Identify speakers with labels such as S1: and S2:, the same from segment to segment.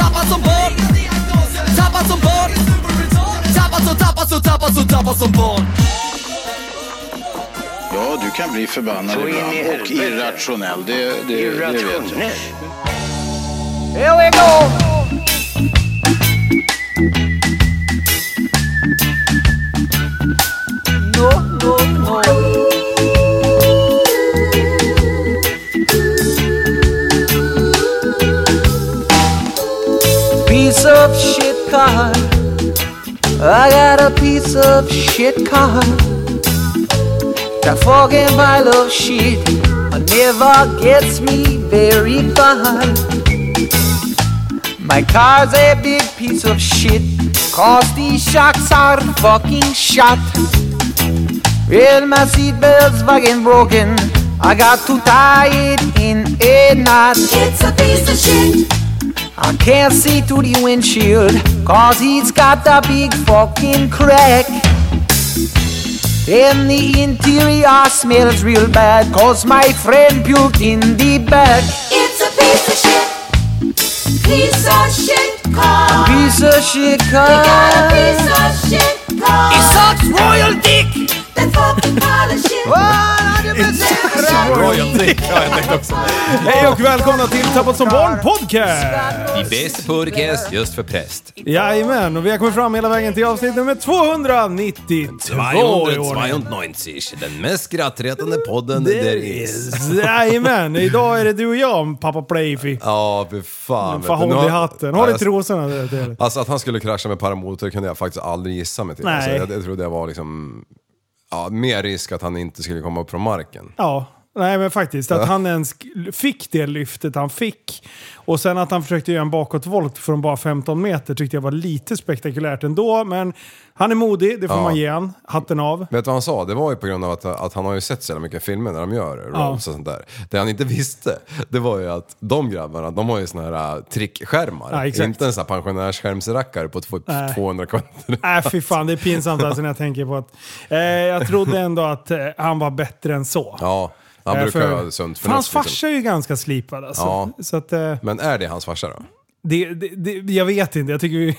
S1: Tappad som barn Tappad som barn Tappad som, tappad som, tappad som, tappad som barn
S2: Ja, du kan bli förbannad
S3: Så in i
S2: ibland och
S3: helvete.
S2: irrationell. Det, det, det vet jag.
S3: Irrationell.
S4: Here we go! No, no, no. Piece of shit car. I got a piece of shit car. That fucking pile of shit never gets me very far. My car's a big piece of shit, cause these shocks are fucking shot. Well, my seatbelt's fucking broken, I got to tie it in a knot.
S5: It's a piece of shit.
S4: I can't see through the windshield, cause he's got a big fucking crack. And the interior smells real bad, cause my friend puked in the back.
S5: It's a piece of shit. Piece of shit car.
S4: Piece of shit car.
S5: Got a piece of shit car. It
S4: sucks royal dick!
S5: That fucking pile of shit.
S6: Royal Dick har jag tänkt också. Hej och välkomna till Tappat som barn podcast!
S1: I bästa podcast just för präst
S6: Jajamän, och vi har kommit fram hela vägen till avsnitt nummer 292 i ordningen.
S1: 292, den mest skrattretande podden there is.
S6: Jajamän, idag är det du och jag, pappa Playfy.
S7: Ja, fy fan. vet
S6: Fan,
S7: du.
S6: håll
S7: Nu
S6: i hatten. Håll i
S7: Ja, jag-
S6: trosorna. det är det.
S7: Alltså att han skulle krascha med paramotor kunde jag faktiskt aldrig gissa mig till.
S6: Nej.
S7: Alltså, jag, jag tror det var liksom... Ja, mer risk att han inte skulle komma upp från marken.
S6: Ja, nej men faktiskt. Att han ens fick det lyftet han fick. Och sen att han försökte göra en bakåtvolt från bara 15 meter tyckte jag var lite spektakulärt ändå. Men han är modig, det får
S7: Ja.
S6: man ge han. Hatten av.
S7: Vet du vad han sa? Det var ju på grund av att, att han har ju sett så jävla mycket filmer när de gör rolls och sånt där. Det han inte visste, det var ju att de grabbarna, de har ju såna här äh, trickskärmar.
S6: Ja, exakt.
S7: inte en sån här pensionärsskärmsrackare på två,
S6: Nej.
S7: 200 kvadrat.
S6: Äh, fy fan, det är pinsamt alltså när jag tänker på att... Eh, jag trodde ändå att eh, han var bättre än så.
S7: Ja, han
S6: Eh,
S7: brukar
S6: för-
S7: ju ha sunt
S6: för Hans
S7: förnuft. liksom.
S6: farsa är ju ganska slipad alltså.
S7: Ja.
S6: Så att, eh,
S7: Men är det hans farsa då?
S6: det, det, det, jag vet inte. Jag tycker vi,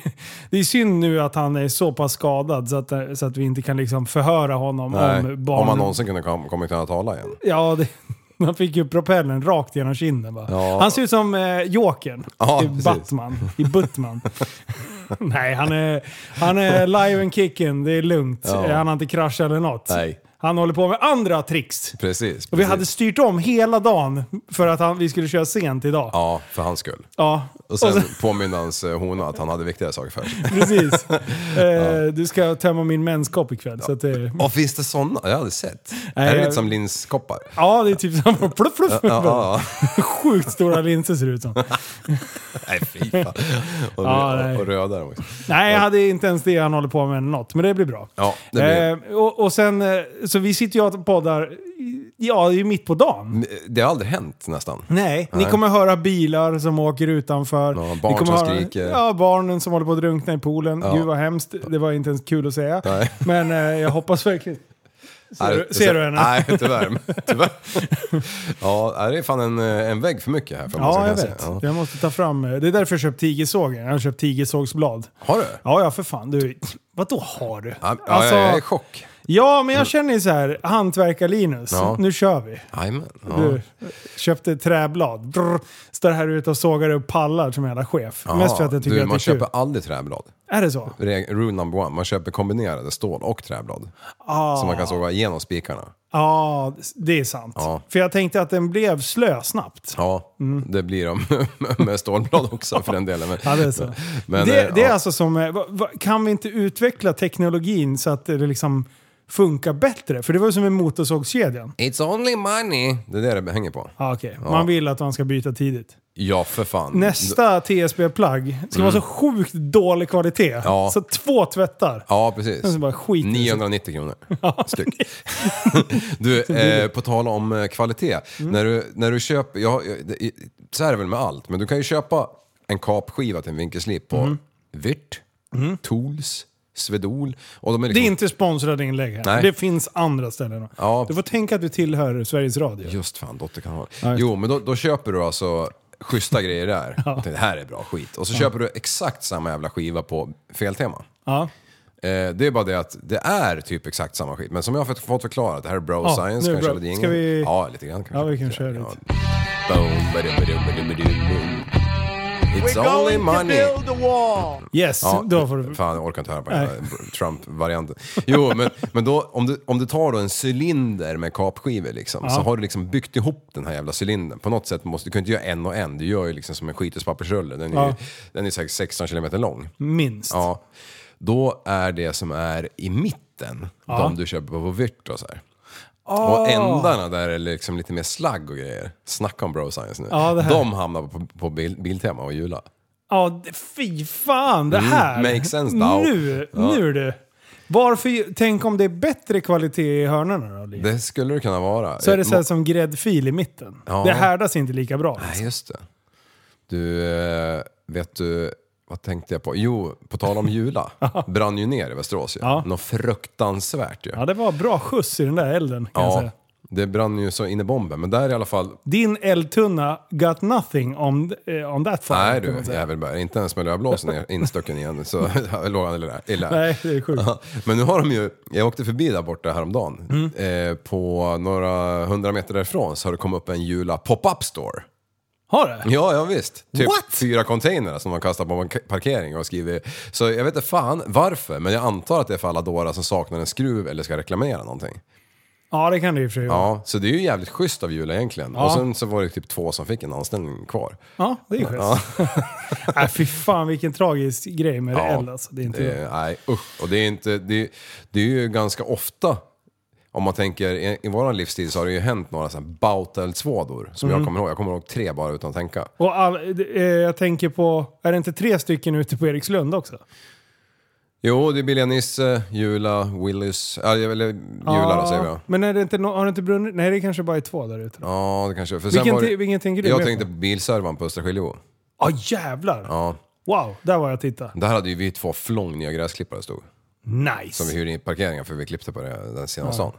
S6: det är synd nu att han är så pass skadad så att, så att vi inte kan liksom förhöra honom
S7: Nej,
S6: om barn...
S7: om han någonsin kunde kom, kommer kunna tala igen.
S6: Ja, det, han fick ju propellen rakt genom kinden bara.
S7: Ja.
S6: Han ser ut som eh, Jokern
S7: Ja,
S6: i
S7: precis.
S6: Batman. I Buttman. Nej, han är, han är live and kicking. Det är lugnt.
S7: Ja.
S6: Han har inte kraschat eller något.
S7: Nej.
S6: Han håller på med andra tricks.
S7: Precis.
S6: Och vi
S7: precis.
S6: hade styrt om hela dagen för att han, vi skulle köra sent idag.
S7: Ja, för hans skull.
S6: Ja,
S7: Och sen, påminner hans eh, hona att han hade viktigare saker för sig.
S6: precis. Eh, Du ska tömma min menskopp ikväll. Så att, eh,
S7: Och finns det sådana? Jag har aldrig sett.
S6: Nej,
S7: är det
S6: jag-
S7: lite som linskoppar?
S6: ja, det är typ samma. Pluff, pluff.
S7: Ja, ja,
S6: Sjukt stora linser ser det ut som.
S7: Nej, fy fan. Och,
S6: Ja,
S7: och,
S6: nej.
S7: och röda de också.
S6: Nej, jag hade inte ens det han håller på med något, men det blir bra.
S7: Ja, det blir-
S6: Eh, och, och sen, eh, så vi sitter ju och poddar, i- ja, det är ju mitt på dagen.
S7: Det har aldrig hänt nästan.
S6: Nej, ni kommer höra bilar som åker utanför.
S7: Ja, barn
S6: ni kommer
S7: som skriker.
S6: Ja, barnen som håller på att drunkna i poolen.
S7: Ja.
S6: Gud vad hemskt, det var inte ens kul att säga.
S7: Nej.
S6: Men eh, jag hoppas verkligen... Ser,
S7: Nej,
S6: du, ser du henne?
S7: Nej, tyvärr. men- tyvärr. Ja, nej, det är fan en, eh, en vägg för mycket här. För att man ska
S6: Ja, jag
S7: kunna
S6: vet.
S7: se. Ja.
S6: Jag måste ta fram... eh, Det är därför jag köpt tigersågen. Jag har köpt tigersågsblad.
S7: Har du?
S6: Ja, Alltså- ja, för fan. Du, vadå har du?
S7: Ja, ja, jag är i chock.
S6: Ja, men jag känner ju så här, hantverkar-Linus,
S7: Ja.
S6: nu kör vi.
S7: Jajamän. Ja.
S6: Du köpte träblad, brr, står här ute och sågar upp pallar som en jävla chef. Mest för att jag tycker
S7: du,
S6: att det är
S7: Man
S6: kul.
S7: köper aldrig träblad.
S6: Är det så?
S7: Reg- Rule number one, man köper kombinerade stål och träblad. Så
S6: Ah.
S7: man kan såga igenom spikarna.
S6: Ja, det är sant.
S7: Ja.
S6: För jag tänkte att den blev slö snabbt.
S7: Ja, det blir de med stålblad också för den delen. Men,
S6: Mm. Ja, det är så.
S7: Men,
S6: det,
S7: eh,
S6: det är
S7: ja.
S6: alltså som, eh, va- va- kan vi inte utveckla teknologin så att det liksom funkar bättre. För det var ju som med motorsågskedjan.
S7: It's only money. Det är det det hänger på.
S6: Ah, okay. Man vill att man ska byta tidigt.
S7: Ja, för fan.
S6: Nästa TSB-plagg ska vara så sjukt dålig kvalitet.
S7: Mm. Ja.
S6: Så två tvättar.
S7: Ja, precis.
S6: Sen så bara skit i sig.
S7: 990 kronor styck. du, eh, på tal om eh, kvalitet.
S6: Mm.
S7: När, du, när du köper, ja, ja, det- i- så här är det väl med allt, men du kan ju köpa en kapskiva till en vinkelslip på
S6: Mm.
S7: Virt, Tools, Svedol. Och de är
S6: Det
S7: liksom,
S6: är inte sponsrade inlägg här.
S7: Nej.
S6: Det finns andra ställen.
S7: Ja.
S6: Du får tänka att du tillhör Sveriges Radio.
S7: Just fan, dotterkanal.
S6: just
S7: Jo, men då, då köper du alltså schyssta grejer där. Tänkte, Det här är bra skit. Och så köper du exakt samma jävla skiva på Feltema.
S6: Ja.
S7: Eh, det är bara det att det är typ exakt samma skit. Men som jag har fått- fått förklarat, det här är bro
S6: Ja,
S7: science
S6: nu är det
S7: kanske.
S6: bra.
S7: Eller
S6: Ska vi-
S7: Ja, lite grann kanske.
S6: Ja, vi kan köra lite.
S7: Boom, badum, badum, badum, badum, boom. It's only money.
S6: Yes,
S7: Ja,
S6: då får du...
S7: Fan, jag orkar inte höra på
S6: Nej.
S7: hela Trump-varianten. Jo, men, men då, om, du, om du tar då en cylinder med kapskivor liksom, så har du liksom byggt ihop den här jävla cylindern. På något sätt måste du kan ju inte göra en och en. Du gör ju liksom som en skithuspappersrulle. Den är, ju-
S6: Ja.
S7: den är säkert 16 kilometer lång.
S6: Minst.
S7: Ja, då är det som är i mitten de du köper på Vyrt och så här.
S6: Ah.
S7: Och ändarna där är liksom lite mer slagg och grejer. Snacka om bro science nu.
S6: Ja, det här.
S7: de hamnar på, på bil, Biltema och Jula.
S6: Ja, det- fy fan det här!
S7: Mm, makes sense now.
S6: Nu, nu du! Varför, tänk om det är bättre kvalitet i hörnorna då? Liv?
S7: Det skulle det kunna vara.
S6: Så är det så här
S7: Mo-
S6: som gräddfil i mitten.
S7: Ja.
S6: Det härdas inte lika bra. liksom.
S7: Nej, just det. Du, eh, vet du, vad tänkte jag på? Jo, på tal om Jula. brann ju ner i Västerås ju.
S6: Ja.
S7: Något fruktansvärt ju.
S6: Ja, det var bra skjuts i den där elden kan jag
S7: Ja,
S6: säga.
S7: det brann ju så in i bomben. Men där i alla fall,
S6: Din eldtunna got nothing on, eh, on that fire.
S7: Nej
S6: kan
S7: du,
S6: man säga.
S7: jävelbär. Inte ens med lövblåsen är instucken igen så låg han illa- illa.
S6: Nej, det är sjukt.
S7: Men nu har de ju, jag åkte förbi där borta häromdagen.
S6: Mm.
S7: Eh, på några hundra meter därifrån så har det kommit upp en Jula pop-up store.
S6: Har det?
S7: Ja, ja visst. Typ
S6: What?
S7: fyra containrar som de kastar på en k- parkering och skriver. Så jag vet inte fan varför, men jag antar att det är för alla dårar som saknar en skruv eller ska reklamera någonting.
S6: Ja, det kan det ju i och för sig vara.
S7: Ja, så det är ju jävligt schysst av Jula egentligen. Och sen så var det typ två som fick en anställning kvar.
S6: Ja, det är ju schysst. Nej, fy fan vilken tragisk grej med det eld alltså. Det är inte
S7: det, Eh, nej, usch. Och det är, inte, det, det är ju ganska ofta, om man tänker i, i vår livsstil så har det ju hänt några sådana bauteldsvådor som
S6: Mm.
S7: jag kommer ihåg. Jag kommer ihåg tre bara utan att tänka.
S6: Och all, eh, jag tänker på, är det inte tre stycken ute på Erikslund också?
S7: Jo, det är Billiga Nisse, Jula, Willys, äh, eller Jula då säger jag.
S6: Men är det inte, no- har det inte brunnit? Nej, det kanske bara är två där ute. Ja,
S7: Ja, det kanske... För
S6: Vilken
S7: det-
S6: ti- vilken tänker du mer
S7: Jag
S6: på?
S7: tänkte på bilservan på Östra Skiljebo.
S6: ah, jävlar!
S7: Ja.
S6: Wow, där var jag och tittade.
S7: Där hade ju vi två flång nya gräsklippare stod.
S6: Nice!
S7: Som vi hyrde in i parkeringen för vi klippte på det den senaste dagen.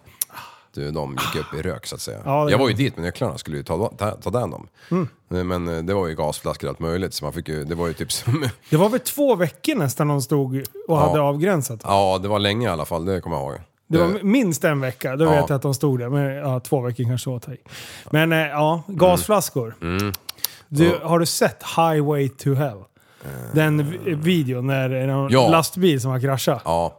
S7: Du, de gick upp i rök så att säga.
S6: Ja, det- Mm.
S7: jag var ju dit med nycklarna skulle ju ta, ta, ta den dem. Men eh, det var ju gasflaskor och allt möjligt så man fick ju, det var ju typ som...
S6: Det var väl två veckor nästan de stod och hade avgränsat.
S7: ja, det var länge i alla fall, det kommer jag ihåg.
S6: Det var
S7: Eh,
S6: minst en vecka, då
S7: Ja.
S6: vet jag att de stod där. Men ja, två veckor kanske var att ta i. Men eh, ja, gasflaskor.
S7: Mm.
S6: Du, har du sett Highway to Hell? Den vi- videon när det är någon
S7: Eh. Ja.
S6: lastbil som har kraschat.
S7: Ja,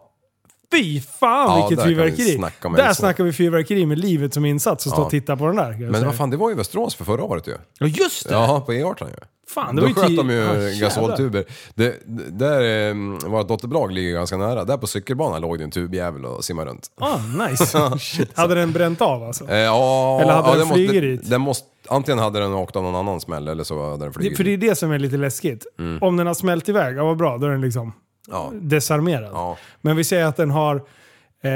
S6: Fy fan
S7: Ja,
S6: vilket
S7: där kan vi
S6: fyrverkeri!
S7: snacka om
S6: där
S7: eldsvåg.
S6: snackar vi fyrverkeri med livet som insats och stå
S7: Ja.
S6: och titta på den där. kan jag
S7: men
S6: säga.
S7: vad fan, det var ju Västerås för förra året ju.
S6: Ja just Alltså- det!
S7: Ja, på E18 ju.
S6: Fan,
S7: Då
S6: det var ju
S7: sköt
S6: tio-
S7: de
S6: Ja,
S7: ju
S6: jävlar.
S7: gasoltuber. Det, det- där, eh, vårt dotterbolag ligger ganska nära. Där på cykelbanan låg det en tubjävel och simmade runt.
S6: Ah, nice. Shit. Hade den bränt av alltså?
S7: Eh, ja,
S6: Eller hade
S7: ja,
S6: den
S7: det måste-
S6: flugit dit?
S7: Den måste, antingen hade den åkt av någon annan smäll eller så hade den
S6: Det,
S7: flugit
S6: för det
S7: dit.
S6: är det som är lite läskigt.
S7: Mm.
S6: Om den har smält iväg, ja vad bra, då är den liksom
S7: Ja.
S6: desarmerad.
S7: Ja.
S6: Men vi säger att den har, eh,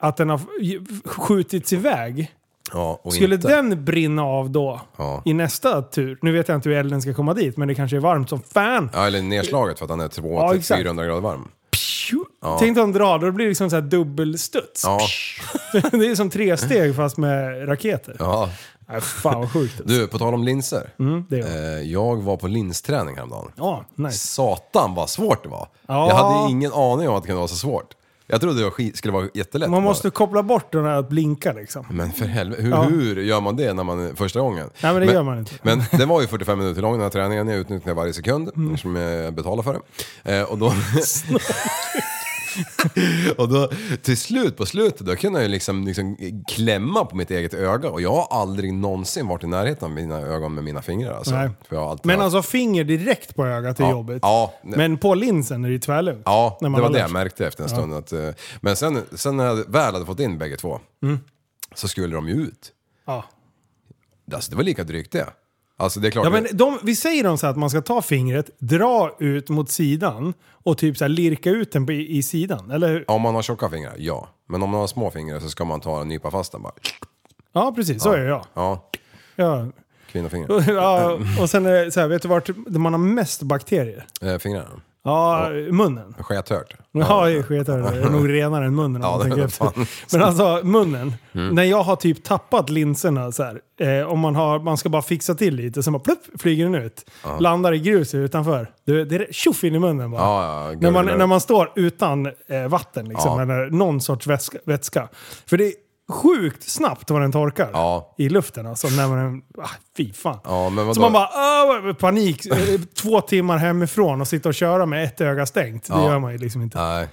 S6: att den har f- skjutits iväg.
S7: Ja, och
S6: Skulle
S7: inte.
S6: den brinna av då,
S7: Ja.
S6: i nästa tur? Nu vet jag inte hur elden ska komma dit, men det kanske är varmt som fan.
S7: Ja, eller nedslaget för att han är 200
S6: Ja,
S7: till
S6: exakt.
S7: 400 grader varm.
S6: Pju! Tänk dig om drar, då blir det liksom så här dubbelstuds.
S7: Ja.
S6: Det är som tre steg fast med raketer.
S7: ja.
S6: Nej, fan vad sjukt.
S7: Du, på tal om linser.
S6: Det är
S7: Eh, jag var på linsträning häromdagen.
S6: Mm. Ja, nice.
S7: Satan vad svårt det var.
S6: Ja.
S7: Jag hade ingen aning om att det kunde vara så svårt. Jag trodde det var skit, skulle vara jättelätt.
S6: Man måste koppla bort den här att blinka liksom.
S7: Men för helvete, hur,
S6: Ja.
S7: hur gör man det när man första gången?
S6: Nej, men det gör man inte.
S7: Men det var ju 45 minuter lång den här
S6: Mm.
S7: träningen, jag utnyttjade varje sekund eftersom jag betalar för det. Eh, och då... Och då, till slut, på slutet, då kunde jag ju liksom, liksom klämma på mitt eget öga. Och jag har aldrig någonsin varit i närheten av mina ögon med mina fingrar. Alltså.
S6: Nej.
S7: För jag har alltid
S6: Men
S7: haft-
S6: alltså finger direkt på ögat är
S7: Ja.
S6: jobbigt.
S7: Ja.
S6: Men på linsen är det ju tvärlugnt.
S7: Ja, det
S6: När man
S7: var
S6: har
S7: det
S6: lärt
S7: jag
S6: sig.
S7: märkte efter en stund. Att, eh, men sen, sen när jag väl hade fått in bägge två,
S6: Mm.
S7: så skulle de ju ut.
S6: Ja.
S7: Alltså, det var lika drygt det. Alltså det är klart.
S6: Ja, men de, vi säger dem så här att man ska ta fingret, dra ut mot sidan och typ så här lirka ut den på, i, i sidan. Eller hur?
S7: Om man har tjocka fingrar, ja. Men om man har små fingrar så ska man ta en nypa fast den bara.
S6: Ja, precis. Så gör jag.
S7: Ja,
S6: Ja.
S7: kvinnofingrar.
S6: ja, och sen är det så här, vet du vart man har mest bakterier?
S7: Eh, fingrarna.
S6: Ja, munnen.
S7: Skethört.
S6: Ja, ja sketare. Det är nog renare än munnen om
S7: Ja,
S6: man
S7: det
S6: tänker
S7: är
S6: efter.
S7: fan. Mm.
S6: Men alltså munnen. När jag har typ tappat linserna så här. Eh, om man, har, man ska bara fixa till lite, sen bara plupp, flyger den ut. Landar i gruset utanför. Det, det är tjoff in i munnen bara.
S7: Ja, ja,
S6: när, man,
S7: gurglar.
S6: när man står utan eh, vatten liksom,
S7: Ja.
S6: eller någon sorts vätska, vätska. För det är sjukt snabbt vad den torkar
S7: Ja.
S6: i luften alltså. När man, ah, fy fan.
S7: Ja, men vadå?
S6: Så man bara, "Åh", panik, eh, två timmar hemifrån och sitta och köra med ett öga stängt. Det
S7: Ja.
S6: gör man ju liksom inte.
S7: Nej.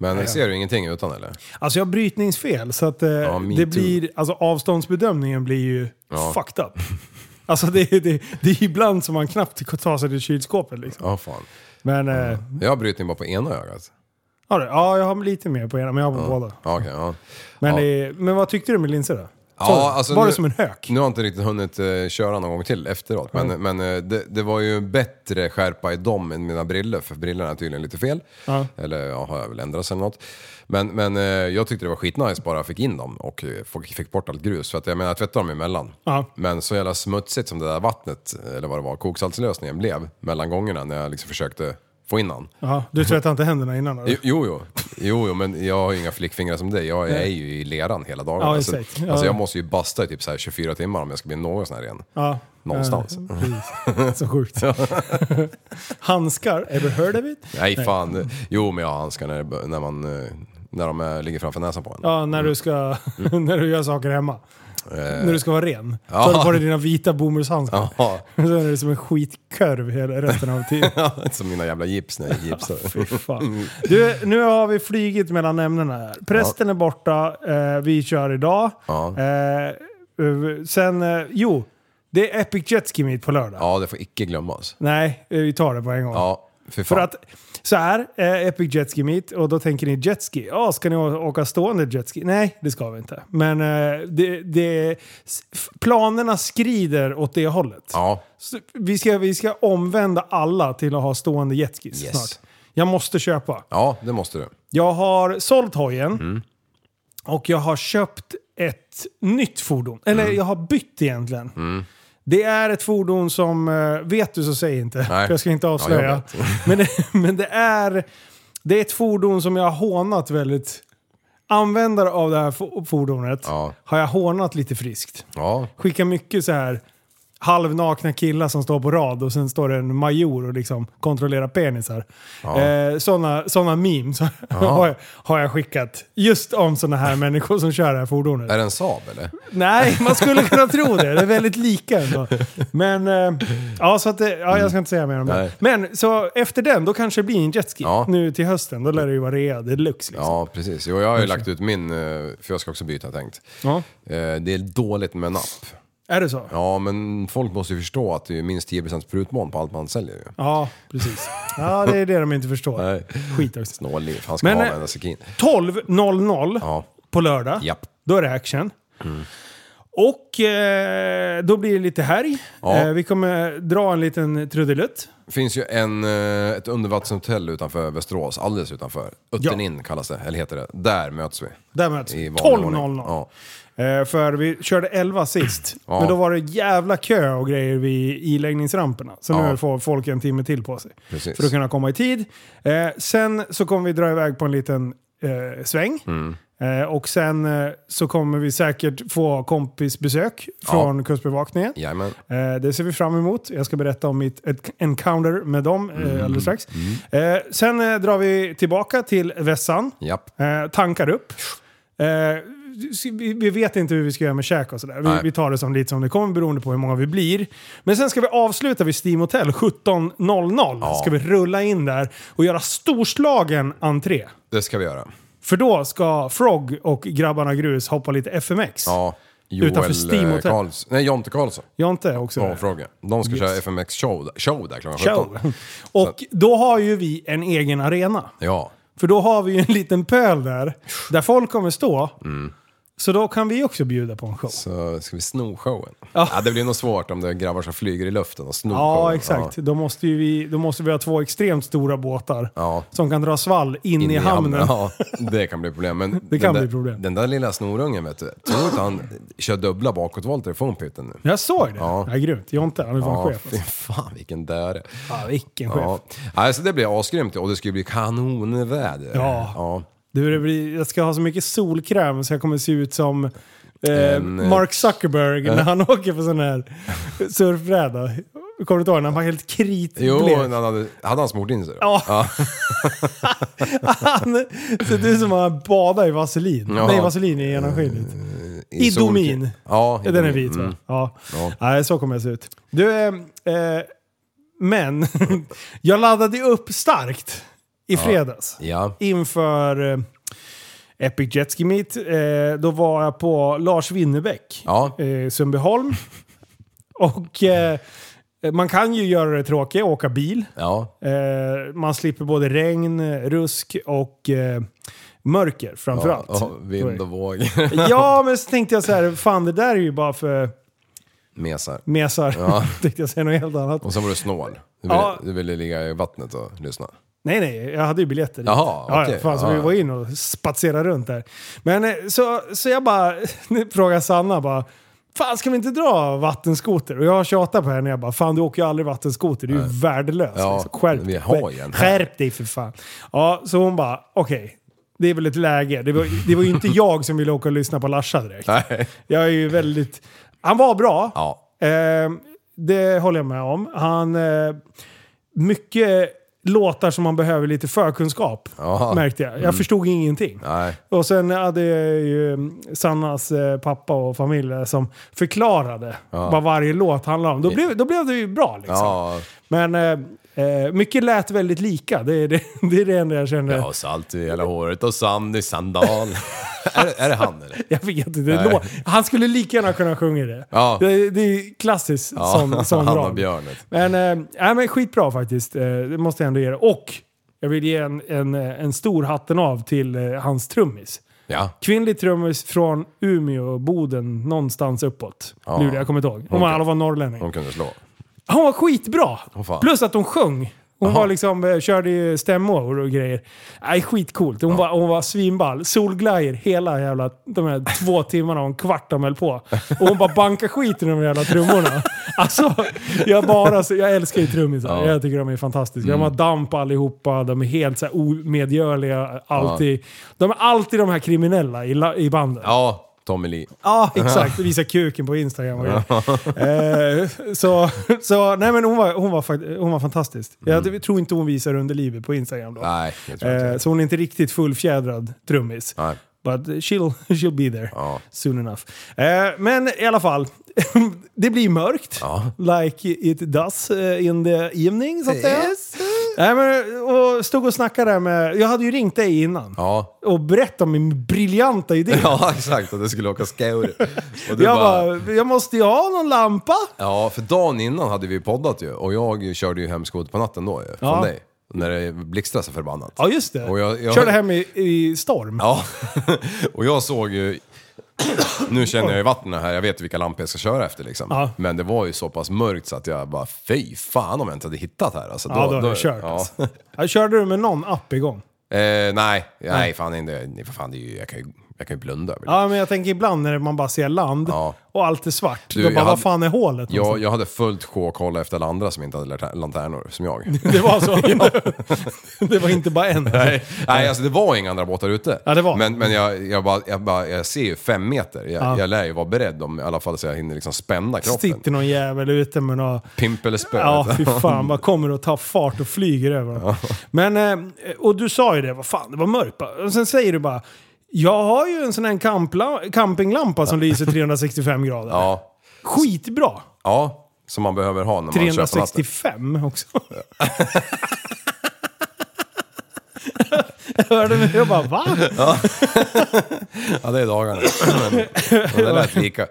S7: Men ser du ingenting utan eller?
S6: Alltså jag har brytningsfel så att eh,
S7: me
S6: det
S7: too.
S6: blir, alltså avståndsbedömningen blir ju
S7: Ja.
S6: fucked up. Alltså det, är- det, det är ibland som man knappt kan ta sig till kylskåpet liksom.
S7: Ja, fan.
S6: Men eh,
S7: Jag har brytning bara på ena ögat.
S6: ja, det- ja, jag har lite mer på ena, men jag har på båda.
S7: Ja, okej, ja.
S6: Men,
S7: Ja.
S6: det är- men vad tyckte du med linser då?
S7: Ja,
S6: Sa du-
S7: alltså
S6: var
S7: nu-
S6: det som en hök? Mm.
S7: Nu har jag inte riktigt hunnit eh, köra någon gång till efteråt, men, men eh, det, det var ju bättre skärpa i dem än mina briller för brillorna är tydligen lite fel.
S6: Ja.
S7: Eller ja, har jag väl ändrats eller något. Men, men eh, jag tyckte det var skitnice bara jag fick in dem och eh, fick- fick bort allt grus. För att jag menar, jag tvättade dem emellan.
S6: Ja.
S7: Men så jävla smutsigt som det där vattnet, eh, eller vad det var, koksaltslösningen blev mellan gångerna när jag liksom försökte få in den.
S6: Ja, du tvättade inte händerna innan? eller?
S7: Jo, jo, jo. jo, jo, men jag har ju inga flickfingrar som dig. Jag är ju i leran hela dagen.
S6: Ja,
S7: alltså,
S6: exakt. Ja.
S7: alltså, jag måste ju basta i typ så här 24 timmar om jag ska bli någon sån här ren.
S6: Ja.
S7: Någonstans.
S6: Eh, precis. Så sjukt. Handskar, ever heard of it?
S7: Nej, fan. Jo, men jag har handskar när, när, man, eh, när de eh, ligger framför näsan på en.
S6: Ja, när du, ska, när du gör saker hemma. När du ska vara ren.
S7: Mm. Eh. Ja.
S6: Tar du på dig dina vita bomullshandskar.
S7: Ja.
S6: Sen är det som en skitkörv hela resten av tiden.
S7: Som mina jävla gips när jag gipsar.
S6: Fy fan. Du, nu har vi flygit mellan ämnena här. Prästen är borta, eh, vi kör idag.
S7: Ja.
S6: Eh, eh, sen, eh, jo, det är Epic Jet Ski Meet på lördag.
S7: Ja, det får icke glömmas.
S6: Nej, eh, vi tar det på en gång.
S7: Ja, för fan.
S6: För att så här, eh, Epic Jet Ski Meet, och då tänker ni jetski. Ja, ska ni å- åka stående jetski? Nej, det ska vi inte. Men eh, det, det, s- f- planerna skrider åt det hållet.
S7: Ja,
S6: Så vi, ska, vi ska omvända alla till att ha stående jetskis
S7: Yes.
S6: snart. Jag måste köpa.
S7: ja, det måste du.
S6: Jag har sålt hojen
S7: Mm.
S6: och jag har köpt ett nytt fordon. Eller
S7: Mm.
S6: jag har bytt egentligen. Det är ett fordon som, eh, vet du så säg inte, för jag ska inte
S7: Ja, jag
S6: avslöja.
S7: vet.
S6: men, det- men det är det är ett fordon som jag har hånat väldigt... Användare av det här fo- fordonet
S7: Ja.
S6: har jag hånat lite friskt.
S7: Ja,
S6: Skickar mycket så här halvnakna killar som står på rad och sen står det en major och liksom kontrollerar penisar. Eh, sådana, sådana memes har, jag, har jag skickat. Just om sådana här människor som kör det här fordonet.
S7: är det en Saab eller?
S6: Nej, man skulle kunna tro det. Det är väldigt lika ändå. Men, eh, ja, så att, det- ja, jag ska inte säga mer om det.
S7: Mm. Nej.
S6: Men så efter den, då kanske det blir en jetski.
S7: Ja.
S6: Nu till hösten, då lär det ju vara rea deluxe. Liksom.
S7: Ja, precis. Jo, jag har ju lagt ut min, eh, för jag ska också byta tänkt.
S6: Ja.
S7: Eh, Det är dåligt med napp.
S6: Är det så? Ja,
S7: Ja, men folk måste ju förstå att det är minst 10% prutmån på allt man säljer ju.
S6: precis. Ja, det är det de inte förstår.
S7: Nej.
S6: Skit också.
S7: Snålliv, han ska
S6: Men,
S7: ha
S6: eh,
S7: en sekin.
S6: 12.00
S7: Ja.
S6: på lördag.
S7: Japp. Mm.
S6: Då är det action. Och eh, då blir det lite helg.
S7: Ja.
S6: Eh, vi kommer dra en liten trudelutt.
S7: finns ju en, eh, ett undervattenshotell utanför Västerås, alldeles utanför. Ötternin kallas det, eller heter det. Där möts vi.
S6: Där möts vi.
S7: I vanlig ordning.
S6: 12.00.
S7: Ja.
S6: Eh, för vi körde 11 sist.
S7: Ja.
S6: Men då var det jävla kö och grejer vid iläggningsramperna. Så nu
S7: Ja.
S6: får folk en timme till på sig.
S7: Precis.
S6: För att kunna komma i tid. Eh, sen så kommer vi dra iväg på en liten eh, sväng.
S7: Mm.
S6: Eh, och sen eh, så kommer vi säkert få kompisbesök från Kustbevakningen.
S7: Jajamän.
S6: Eh, det ser vi fram emot. Jag ska berätta om mitt ett encounter med dem eh,
S7: Mm.
S6: alldeles strax. Eh, sen eh, drar vi tillbaka till Vässan.
S7: Japp.
S6: Eh, tankar upp. Eh, vi, vi vet inte hur vi ska göra med käk och sådär. Vi,
S7: Nej.
S6: vi tar det som lite som det kommer beroende på hur många vi blir. Men sen ska vi avsluta vid Steam Hotel 17.00. Ska vi rulla in där och göra storslagen entré.
S7: Det ska vi göra.
S6: För då ska Frog och grabbarna Grus hoppa lite FMX.
S7: Ja, Joel
S6: Utanför Steam
S7: eh,
S6: Hotel.
S7: Karls, Nej, Jonte Karlsson.
S6: Jonte också.
S7: Ja, fråga. De ska köra FMX show, där- show där klockan 17.
S6: Show. Och då har ju vi en egen arena.
S7: Ja.
S6: För då har vi ju en liten pöl där, där folk kommer stå.
S7: Mm.
S6: Så då kan vi också bjuda på en show.
S7: Så ska vi sno showen?
S6: Ja.
S7: Ja, det blir nog svårt om det är grabbar som flyger i luften och snor
S6: Ja,
S7: showen.
S6: exakt. Då, måste ju vi, då måste vi ha två extremt stora båtar
S7: Ja.
S6: som kan dra svall in, i hamnen.
S7: Ja, det kan bli problem. Men
S6: Det kan
S7: den där,
S6: bli problem.
S7: Den där lilla snorungen, vet du. Tror du att han kör dubbla bakåtvolter i formpytten nu?
S6: Jag såg det.
S7: Ja.
S6: Ja. grymt. Jonte, han är fan
S7: Ja,
S6: chef.
S7: fy
S6: Alltså.
S7: fan vilken däre.
S6: Ja, vilken chef.
S7: Ja. Alltså, det blir asgrymt och det ska ju bli kanonväder.
S6: Ja. Du, det blir, jag ska ha så mycket solkräm så jag kommer se ut som eh,
S7: En, eh,
S6: Mark Zuckerberg när han åker på sån här surfbräda. Kommer du inte ihåg? när Han var helt
S7: Jo,
S6: kritblek.
S7: han hade, hade han smort in sig då?
S6: Ja. han ser ut som att han badar i vaselin.
S7: Ja.
S6: Nej, vaselin i genomskinligt.
S7: I sol-
S6: Idomin.
S7: Ja,
S6: Den är vit
S7: Mm.
S6: va? Ja.
S7: Ja.
S6: Nej, så kommer jag se ut. Du, eh, eh, men jag laddade ju upp starkt i fredags.
S7: Ja.
S6: Inför eh, Epic Jet Ski Meet. Eh, då var jag på Lars Winnerbäck,
S7: Ja.
S6: eh, Sundbyholm. Och eh, man kan ju göra det tråkiga, åka bil.
S7: Ja.
S6: Eh, man slipper både regn, rusk och eh, mörker framförallt.
S7: Ja, och vind och våg.
S6: Ja, men så tänkte jag så här, fan det där är ju bara för
S7: Mesar.
S6: mesar.
S7: Ja.
S6: tänkte jag säga något helt annat.
S7: Och så var du snål. Du ville,
S6: Ja.
S7: du ville ligga i vattnet och lyssna.
S6: Nej, nej, jag hade ju biljetter. dit.
S7: Jaha,
S6: ja,
S7: okej.
S6: ja, fan, så
S7: Ja,
S6: vi
S7: ja.
S6: var in och spatserade runt där. Men eh, så, så jag bara frågade Sanna bara, fan ska vi inte dra vattenskoter? Och jag tjatar på henne, jag bara, fan du åker ju aldrig vattenskoter, du är ju värdelös.
S7: Ja,
S6: liksom. Skärp
S7: vi
S6: dig.
S7: har ju en här.
S6: Skärp dig för fan. Ja, så hon bara, okej. Det är väl ett läge. Det var, det var ju inte jag som ville åka och lyssna på Larsa direkt.
S7: Nej.
S6: Jag är ju väldigt... Han var bra.
S7: Ja.
S6: Eh, det håller jag med om. Han... Eh, mycket låtar som man behöver lite förkunskap.
S7: Ja. Mm.
S6: Märkte jag. Jag förstod ingenting.
S7: Nej.
S6: Och sen hade jag ju mm, Sannas eh, pappa och familj där som förklarade vad varje låt handlade om. Då blev, då blev det ju bra liksom.
S7: Ja.
S6: Men eh, eh, mycket lät väldigt lika. Det är det, det, är det enda jag kände.
S7: Ja, salt i hela håret och sand i sandal. är, det, är det han eller?
S6: Jag vet inte. Det lå- han skulle lika gärna kunna sjunga det.
S7: Ja.
S6: Det, det är klassiskt
S7: Ja,
S6: sån, sån
S7: han
S6: rad.
S7: och björnet.
S6: Men, äh, men skitbra faktiskt. Eh, det måste jag ändå ge det. Och jag vill ge en, en, eh, en stor hatten av till eh, hans trummis.
S7: Ja.
S6: Kvinnlig trummis från Umeå, Boden, någonstans uppåt.
S7: Ja.
S6: Luleå, jag kommer inte ihåg. Hon var i alla fall norrlänning.
S7: Hon kunde slå.
S6: Hon var skitbra!
S7: Åh, fan.
S6: Plus att hon sjöng. Hon var liksom, eh, körde ju stämmor och grejer. Nej, skitcoolt. Hon, var, hon var svinball. Solglajjor hela jävla de här två timmarna och en kvart de höll på. Och hon bara bankade skiten i de jävla trummorna. Alltså, jag bara... så- Jag älskar ju trummisar.
S7: Ja. Mm.
S6: Jag tycker de är fantastiska. De har damp allihopa. De är helt så här omedgörliga. Alltid. De är alltid de här kriminella i, la- i bandet.
S7: Ja, Tommy Lee.
S6: Ja, exakt. Visa kuken på Instagram. Och grejer. eh, så, så, nej men hon var, hon var, fakt- hon var fantastisk. Jag tror inte hon visar underlivet på Instagram då.
S7: Mm. Nej, det tror jag
S6: eh,
S7: inte.
S6: så hon är inte riktigt fullfjädrad trummis.
S7: Nej.
S6: But she'll, she'll be there
S7: Ja.
S6: soon enough. Eh, men i alla fall, det blir mörkt.
S7: Ja.
S6: Like it does eh, in the evening, så att säga. Nej, men, och stod och snackade där med... Jag hade ju ringt dig innan.
S7: Ja.
S6: Och berättat om min briljanta idé.
S7: Ja, exakt. Att du skulle åka skaur. Och du
S6: Jag bara, jag måste ju ha någon lampa.
S7: Ja, för dagen innan hade vi poddat ju och jag körde ju hem skod på natten då ju, från
S6: Ja.
S7: dig. När det blixtrade så förbannat.
S6: Ja, just det.
S7: Och jag- jag-
S6: Körde hem i, i storm.
S7: Ja, och jag såg ju... Nu känner jag i vattnet här, jag vet vilka lampor jag ska köra efter liksom.
S6: Ja.
S7: Men det var ju så pass mörkt så att jag bara, fy fan om jag inte hade hittat här. Alltså, då,
S6: Ja, då hade jag kört, alltså. Ja, Körde du med någon app igång?
S7: Eh, nej, nej fan inte. Nej, för fan, det är ju, jag, kan ju, jag kan ju blunda över det.
S6: Ja, men jag tänker ibland när man bara ser land
S7: Ja.
S6: och allt är svart.
S7: Du,
S6: då
S7: jag
S6: bara, vad
S7: hade-
S6: fan är hålet?
S7: Jag, jag hade fullt sjå att kolla efter alla andra som inte hade lanta- lanternor, som jag.
S6: någonstans? Det var så? det var inte bara en?
S7: Nej, nej alltså det var inga andra båtar ute.
S6: Ja, det var.
S7: Men, men jag, jag, bara, jag, bara, jag ser ju fem meter. Jag,
S6: Ja.
S7: jag lär ju vara beredd om i alla fall så jag hinner liksom spänna kroppen.
S6: Sitter någon jävel ute med några...
S7: Pimp eller spö.
S6: Ja,
S7: vet
S6: fy
S7: du.
S6: fan. Bara kommer och tar fart och flyger över dem. Men, eh, och du sa ju det, vad fan, det var mörkt. bara. Och sen säger du bara, jag har ju en sån här kampla- campinglampa som lyser 365 grader.
S7: ja.
S6: Skitbra!
S7: ja, som man behöver ha när man kör på natten.
S6: 365 också. Hörde mig, jag bara va?
S7: Ja, det är dagarna. Men det lät lika.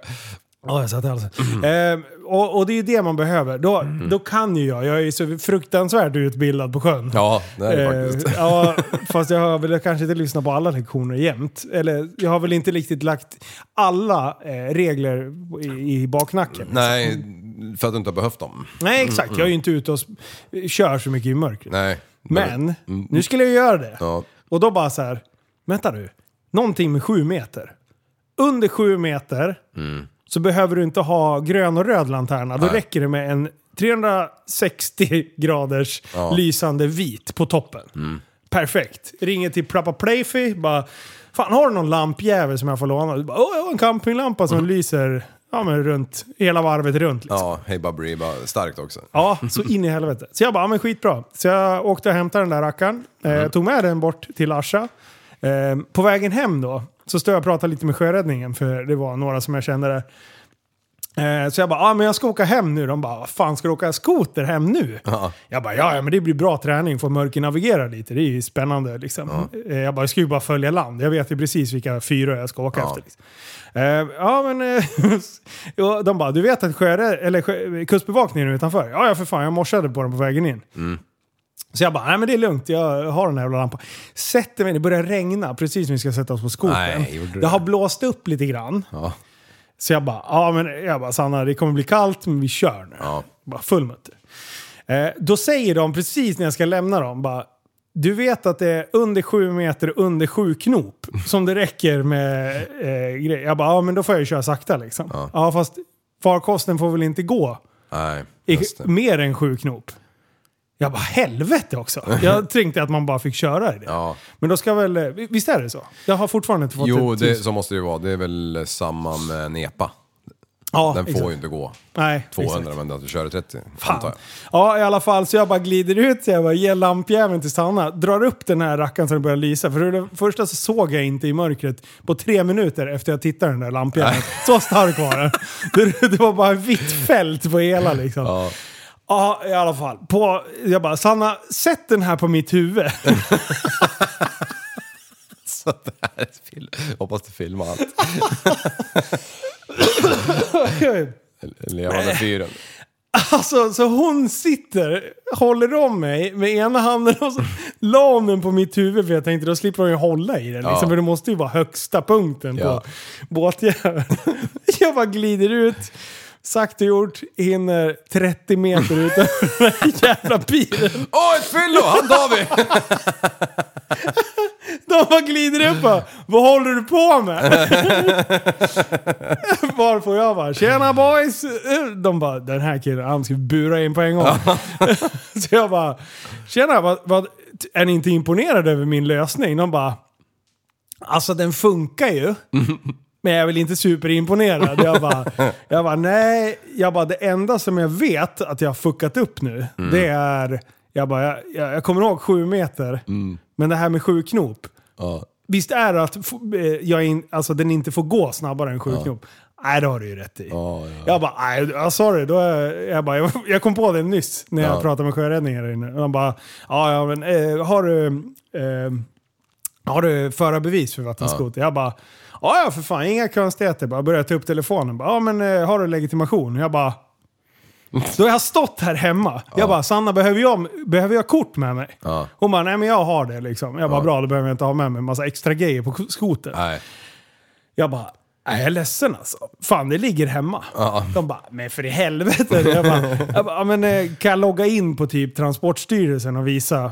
S6: Ja, jag satt i halsen.
S7: Mm.
S6: Ehm, och, och det är ju det man behöver. Då, då kan ju jag. Jag är ju så fruktansvärt utbildad på sjön.
S7: Ja, det är det
S6: Eh,
S7: faktiskt.
S6: ja, fast jag har väl kanske inte lyssnat på alla lektioner jämt. Eller jag har väl inte riktigt lagt alla eh, regler i, i
S7: Mm.
S6: baknacken.
S7: Nej, för att du inte har behövt dem.
S6: Nej, exakt.
S7: Mm,
S6: Jag är ju inte ute och sp- kör så mycket i mörkret.
S7: Nej. Mm.
S6: Men nu skulle jag göra det.
S7: Ja.
S6: Och då bara så här, vänta nu, någonting med sju meter. Under sju meter så behöver du inte ha grön och röd lanterna. Då
S7: Mm. Nej.
S6: räcker det med en 360 graders
S7: Ja. Mm.
S6: lysande vit på toppen. Perfekt. Ringer till Prappa Playfi, bara Fan, har du någon lampjävel som jag får låna? Du Bara, Åh, jag har en campinglampa
S7: Mm.
S6: som lyser ja, men runt, hela varvet runt. Liksom.
S7: Ja, hej Babri, bara starkt också.
S6: Ja, så in i helvete. Så jag bara, ja, men skitbra. Så jag åkte och hämtade den där rackaren. Eh, tog med den bort till Arsa. Eh, på vägen hem då, så stod jag och pratade lite med sjöräddningen, för det var några som jag kände där. Eh, Så jag bara, ja men jag ska åka hem nu. De bara, "Vad fan ska du åka skoter hem nu? Jag bara, ja ja, men det blir bra träning, får mörker navigera lite, det är ju spännande liksom. Eh, Jag bara, jag ska ju bara följa land, jag vet ju precis vilka fyra jag ska åka efter. Liksom. Eh, Ja men, eh, ja, de bara, du vet att sjörä- eller, sjö- kustbevakningen är utanför? Ja ja för fan, jag morsade på den på vägen in.
S7: Mm.
S6: Så jag bara, nej men det är lugnt, jag har den här jävla lampan. Sätter mig, det börjar regna precis när vi ska sätta oss på skotern.
S7: Nej, gjorde du
S6: Det
S7: det?
S6: har blåst upp lite grann.
S7: Ja.
S6: Så jag bara, ja men jag bara, Sanna det kommer bli kallt men vi kör nu.
S7: Ja.
S6: Bara full mutter. Eh, då säger de precis när jag ska lämna dem, bara, du vet att det är under sju meter, under sju knop som det räcker med eh, grejer. Jag bara, ja men då får jag ju köra sakta liksom. Ja, fast farkosten får väl inte gå
S7: Nej,
S6: i,
S7: just det.
S6: mer än sju knop. Jag bara, helvete också. Jag tänkte att man bara fick köra i det.
S7: Ja.
S6: Men då ska väl, eh, visst är det så? Jag har fortfarande inte fått
S7: Jo,
S6: ett
S7: det,
S6: tus-
S7: så måste det ju vara. Det är väl samma med NEPA.
S6: ja,
S7: Den
S6: exakt.
S7: får ju inte gå
S6: Nej,
S7: 200
S6: exakt.
S7: men att du kör i 30. antar
S6: Fan.
S7: jag.
S6: Ja, i alla fall. Så jag bara glider ut, så jag bara ger lampjäveln till Sanna. Drar upp den här rackaren så den börjar lysa. För det första så såg jag inte i mörkret på tre minuter efter jag tittade den där lampjäveln. Så stark var den. Det, det var bara ett vitt fält på hela liksom. Ja. i alla fall. På, jag bara, Sanna, sätt den här på mitt huvud.
S7: Så det här är film. Hoppas du filmar allt. Levande fyren.
S6: Alltså, så hon sitter, håller om mig med ena handen och så la hon den på mitt huvud för jag tänkte då slipper hon ju hålla i den. Liksom,
S7: Ja.
S6: För det måste ju vara högsta punkten
S7: Ja.
S6: på båtjäveln. jag bara glider ut, sagt och gjort, hinner 30 meter utanför den här jävla bilen.
S7: Åh, ett fyllo! Han tar vi!
S6: De bara glider upp och bara, vad håller du på med? Varpå jag bara, tjena boys! De bara, den här killen, han ska vi bura in på en gång. Så jag bara, tjena, vad, vad, t- är ni inte imponerade över min lösning? De bara, alltså den funkar ju. Men jag är väl inte superimponerad. Jag bara, jag bara, nej. Jag bara, det enda som jag vet att jag har fuckat upp nu, det är... Jag bara, jag, jag, jag kommer ihåg sju meter, men det här med sju knop.
S7: Ja.
S6: Visst är det att f- eh, jag in, alltså, den inte får gå snabbare än sju knop? Nej, det har du ju rätt i. Jag bara, nej, jag sa det. Då är, jag- jag, bara, jag, jag kom på det nyss när jag pratade med sjöräddningen här inne. Och de bara, ja, ja men eh, har du... Eh, har du förarbevis för vattenskoter? Jag bara, ja ja för fan, inga konstigheter. Bara börjar ta upp telefonen. Bara, ja men eh, har du legitimation? Jag bara, då har jag stått här hemma. Jag bara, Sanna behöver jag, behöver jag kort med mig?
S7: Ja.
S6: Hon bara, nej men jag har det liksom. Jag bara, bra då behöver jag inte ha med mig en massa extra grejer på skoter.
S7: Nej.
S6: Jag bara, nej, jag är ledsen alltså. Fan, det ligger hemma. De bara, men för i helvete. Jag bara, jag bara, "Ja, men, eh, kan jag logga in på typ Transportstyrelsen och visa?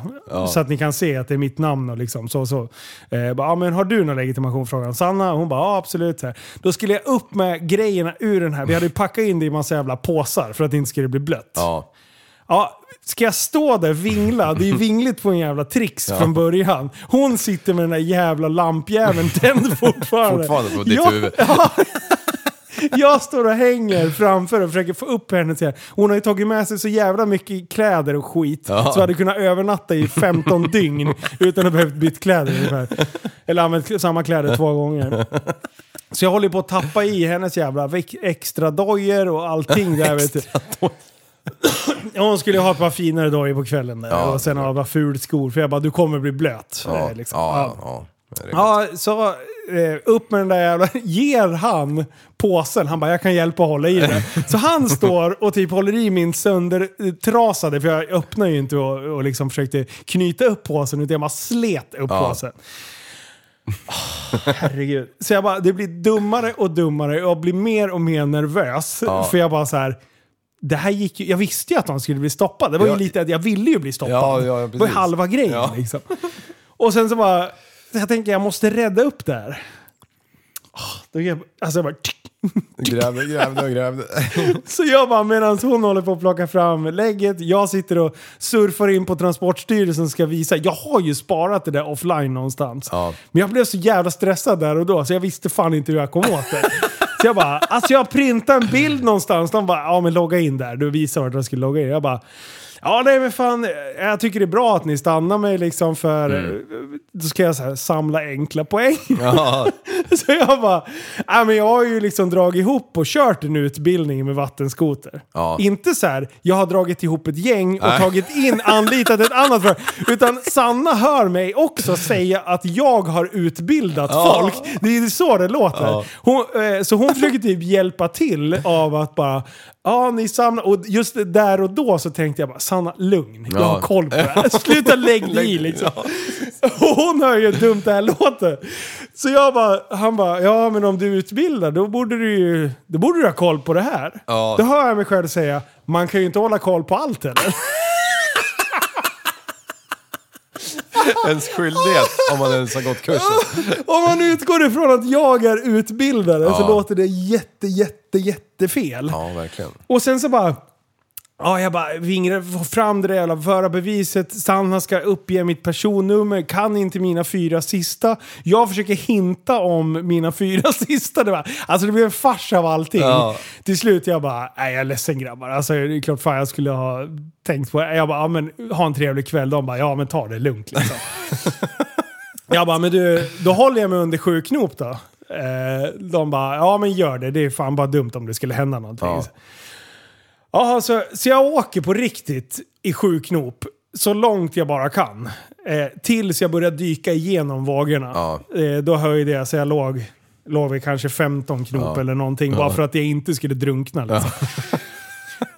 S6: Så att ni kan se att det är mitt namn och liksom så så. Eh, jag bara, "Ja, men har du någon legitimation? Frågade han Sanna. Hon bara, ja absolut. Så här. Då skulle jag upp med grejerna ur den här. Vi hade ju packat in det i massa jävla påsar för att det inte skulle bli blött.
S7: Ja.
S6: Ja, ska jag stå där vingla? Det är ju vingligt på en jävla trix från början. Hon sitter med den där jävla lampjäveln tänd fortfarande.
S7: Fortfarande på ditt
S6: Ja,
S7: huvud.
S6: Ja. Jag står och hänger framför och försöker få upp henne. Till. Hon har ju tagit med sig så jävla mycket kläder och skit. Så jag hade kunnat övernatta i 15 dygn utan att behövt byta kläder ungefär. Eller använt kl- samma kläder två gånger. Så jag håller på att tappa i hennes jävla vek- extra dojer och allting där. Vet du. Ja, Hon skulle ha ett par finare dojor på kvällen där.
S7: Ja,
S6: och sen ha ett par fult skor. För jag bara, du kommer bli blöt.
S7: Ja,
S6: Eh, liksom.
S7: ja,
S6: Ja.
S7: ja. Det är rimligt.
S6: Ja, så eh, upp med den där jävla... Ger han påsen? Han bara, jag kan hjälpa att hålla i den. Så han står och typ håller i min söndertrasade, för jag öppnade ju inte och, och liksom försökte knyta upp påsen, utan jag bara slet upp
S7: Ja.
S6: påsen. Åh, herregud. Så jag bara, det blir dummare och dummare och jag blir mer och mer nervös. För jag bara så här... Det här gick ju, jag visste ju att de skulle bli stoppade. Det var
S7: Ja.
S6: ju lite att jag ville ju bli stoppad.
S7: Ja, ja,
S6: det var ju
S7: precis.
S6: halva grejen
S7: Ja.
S6: liksom. Och sen så bara, så jag tänker jag måste rädda upp det här. Ah, Då gör jag, alltså jag bara, tick.
S7: Grävde, grävde och grävde.
S6: så jag bara, medan hon håller på att plocka fram lägget, jag sitter och surfar in på Transportstyrelsen och ska visa. Jag har ju sparat det där offline någonstans.
S7: Ja.
S6: Men jag blev så jävla stressad där och då, så jag visste fan inte hur jag kom åt det. Så jag bara, alltså jag printade en bild någonstans. De bara, ja men logga in där. Du visar vart jag skulle logga in. Jag bara, ja nej men fan, jag tycker det är bra att ni stannar mig liksom för då ska jag så här, samla enkla poäng. så jag bara, nej men jag har ju liksom dragit ihop och kört en utbildning med vattenskoter.
S7: Ja.
S6: Inte så här, jag har dragit ihop ett gäng och
S7: Nej.
S6: tagit in, anlitat ett annat för. Utan Sanna hör mig också säga att jag har utbildat folk. Det är så det låter. Hon, eh, så hon försöker typ hjälpa till av att bara, ja ni samlar, och just där och då så tänkte jag bara, Sanna lugn, jag har
S7: Ja.
S6: koll på det här. Sluta lägg dig i liksom. Och hon hör ju hur dumt det här låter. Så jag bara, han bara, ja men om du utbildar då borde du ju, då borde du ha koll på det här.
S7: Ja.
S6: Då hör jag mig själv säga, man kan ju inte hålla koll på allt heller.
S7: Ens skyldighet om man ens har gått kursen.
S6: Om man utgår ifrån att jag är utbildare så
S7: Ja.
S6: låter det jätte, jätte, jättefel.
S7: Ja, verkligen.
S6: Och sen så bara... Ja, jag bara vingrar, får fram det där jävla förarbeviset. Sanna ska uppge mitt personnummer, kan inte mina fyra sista. Jag försöker hinta om mina fyra sista. Det var, alltså det blev en fars av allting.
S7: Ja.
S6: Till slut jag bara, nej jag är ledsen grabbar. Alltså det är klart fan jag skulle ha tänkt på det. Jag bara, ja men ha en trevlig kväll. De bara, ja men ta det lugnt liksom. jag bara, men du, då håller jag mig under sju knop då. Eh, de bara, ja men gör det. Det är fan bara dumt om det skulle hända någonting.
S7: Ja.
S6: Jaha, så, alltså, så jag åker på riktigt i sju knop så långt jag bara kan. Eh, tills jag börjar dyka igenom vågorna.
S7: Ja.
S6: Eh, då höjde jag så jag låg, låg vid kanske 15 knop eller någonting. Bara för att jag inte skulle drunkna. Liksom.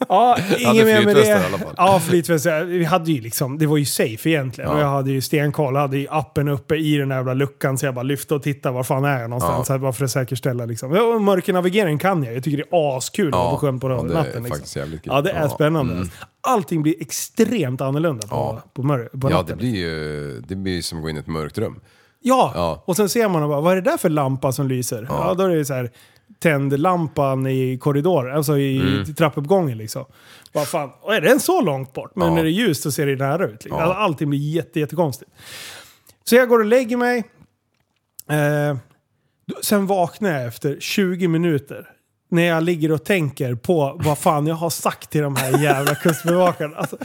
S6: Ja, inget mer med
S7: flytvästar
S6: det.
S7: i alla fall.
S6: Ja, flytvästar. Vi hade ju liksom, det var ju safe egentligen. Och jag hade ju stenkoll. Jag hade ju appen uppe i den där jävla luckan. Så jag bara lyfte och tittade. Var fan är jag någonstans?
S7: Ja.
S6: Så här, bara för att säkerställa liksom. Och mörkernavigering kan jag. Jag tycker det är askul att
S7: Ja.
S6: vara på sjön på
S7: Ja, det är
S6: natten. liksom.
S7: faktiskt jävligt kul.
S6: Ja, det är
S7: Ja. mm.
S6: spännande. Allting blir extremt annorlunda på,
S7: Ja.
S6: på, mör- på
S7: Ja,
S6: natten.
S7: det blir ju det blir ju som att gå in i ett mörkt rum.
S6: Ja,
S7: Ja.
S6: och sen ser man och bara, vad är det där för lampa som lyser? Ja, då är det så här, tänd lampan i korridor, alltså i
S7: Mm.
S6: i trappuppgången liksom. Vad fan, och är den så långt bort? Men
S7: Ja.
S6: när det är ljust så ser det nära ut. Liksom. Alltså, allting blir jätte, jättekonstigt. Så jag går och lägger mig. Eh, då- sen vaknar jag efter 20 minuter. När jag ligger och tänker på vad fan jag har sagt till de här jävla kustbevakarna. Alltså,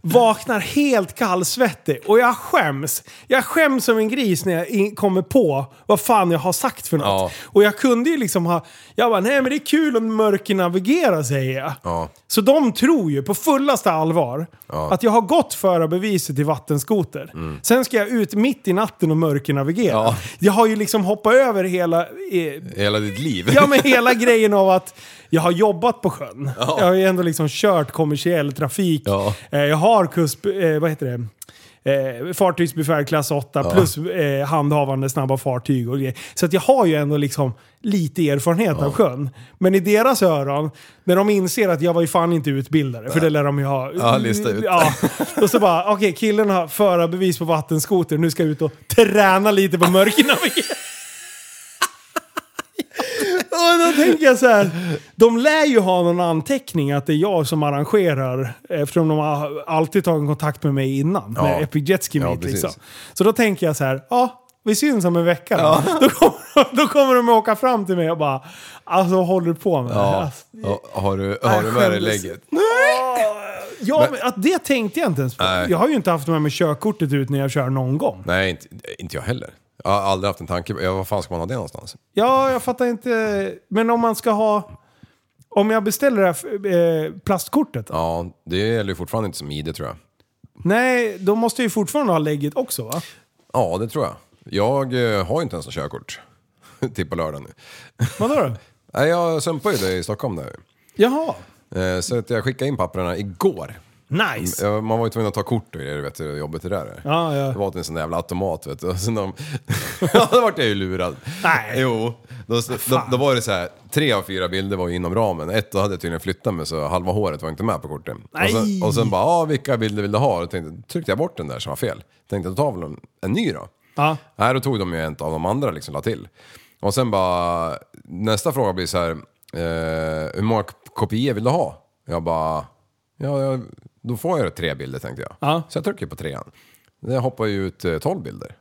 S6: vaknar helt kallsvettig och jag skäms. Jag skäms som en gris när jag in- kommer på vad fan jag har sagt för något.
S7: Ja.
S6: Och jag kunde ju liksom ha... Jag bara, nej men det är kul om mörker navigerar säger jag.
S7: Ja.
S6: Så de tror ju på fullaste allvar att jag har gått förarbeviset i vattenskoter. Sen ska jag ut mitt i natten och mörkernavigera.
S7: Mm. Ja.
S6: Jag har ju liksom hoppat över hela... Eh,
S7: Hela ditt liv.
S6: ja men hela grejen av att jag har jobbat på sjön. Jag har ju ändå liksom kört kommersiell trafik.
S7: Ja.
S6: Eh, jag har kust... Eh, vad heter det? Eh, fartygsbefäl klass 8 plus eh, handhavande snabba fartyg och grejer. Så att jag har ju ändå liksom lite erfarenhet av sjön. Men i deras öron, när de inser att jag var ju fan inte utbildare, för det lär de ju ha.
S7: Ja, lista ut.
S6: Ja. Och så bara, okej killen har förarbevis på vattenskoter, nu ska jag ut och träna lite på mörkernavigering. Och då tänker jag så här. De lär ju ha någon anteckning att det är jag som arrangerar. Eftersom de har alltid tagit kontakt med mig innan.
S7: Ja.
S6: Med Epic Jet Ski
S7: Ja,
S6: Meet
S7: precis.
S6: liksom. Så då tänker jag så här. Ja, vi syns om en vecka. Då, kommer, då kommer de åka fram till mig och bara. Alltså vad håller du på med?
S7: Ja.
S6: Alltså,
S7: Ja, Har du, har du med dig lägget?
S6: Ja, men, att det tänkte jag inte ens på.
S7: Nej.
S6: Jag har ju inte haft med mig körkortet ut när jag kör någon gång.
S7: Nej, inte, inte jag heller. Jag har aldrig haft en tanke på, ja, var fan ska man ha det någonstans?
S6: Ja, jag fattar inte. Men om man ska ha... Om jag beställer det här eh, plastkortet?
S7: Ja, det gäller ju fortfarande inte som ID tror jag.
S6: Nej, då måste jag ju fortfarande ha lägget också va?
S7: Ja, det tror jag. Jag eh, har ju inte ens något körkort. till på lördag nu.
S6: Vadå då?
S7: Nej, jag sumpar ju det i Stockholm där.
S6: Jaha,
S7: Eh, Så att jag skickade in papperna igår.
S6: nice.
S7: Ja, Man var ju tvungen att ta kort och grejer, vet du, hur jobbigt det där är.
S6: Ja, ja.
S7: Det var till en sån där jävla automat, vet du. Och sen de... ja, då vart jag ju lurad.
S6: Nej.
S7: Jo. Då, då, då var det så här, tre av fyra bilder var ju inom ramen. Ett, då hade jag tydligen flyttat mig så halva håret var inte med på kortet.
S6: Nej.
S7: Och sen, och sen bara, ah, vilka bilder vill du ha? Då tänkte, tryckte jag bort den där som var fel. Tänkte, då tar väl en, en ny då.
S6: Ja.
S7: Nej, då tog de ju en av de andra liksom, la till. Och sen bara, nästa fråga blir så här, eh, hur många kopior vill du ha? Jag bara, ja, ja då får jag tre bilder tänkte jag.
S6: Ja.
S7: Så jag trycker på trean. Det hoppar ju ut eh, tolv bilder.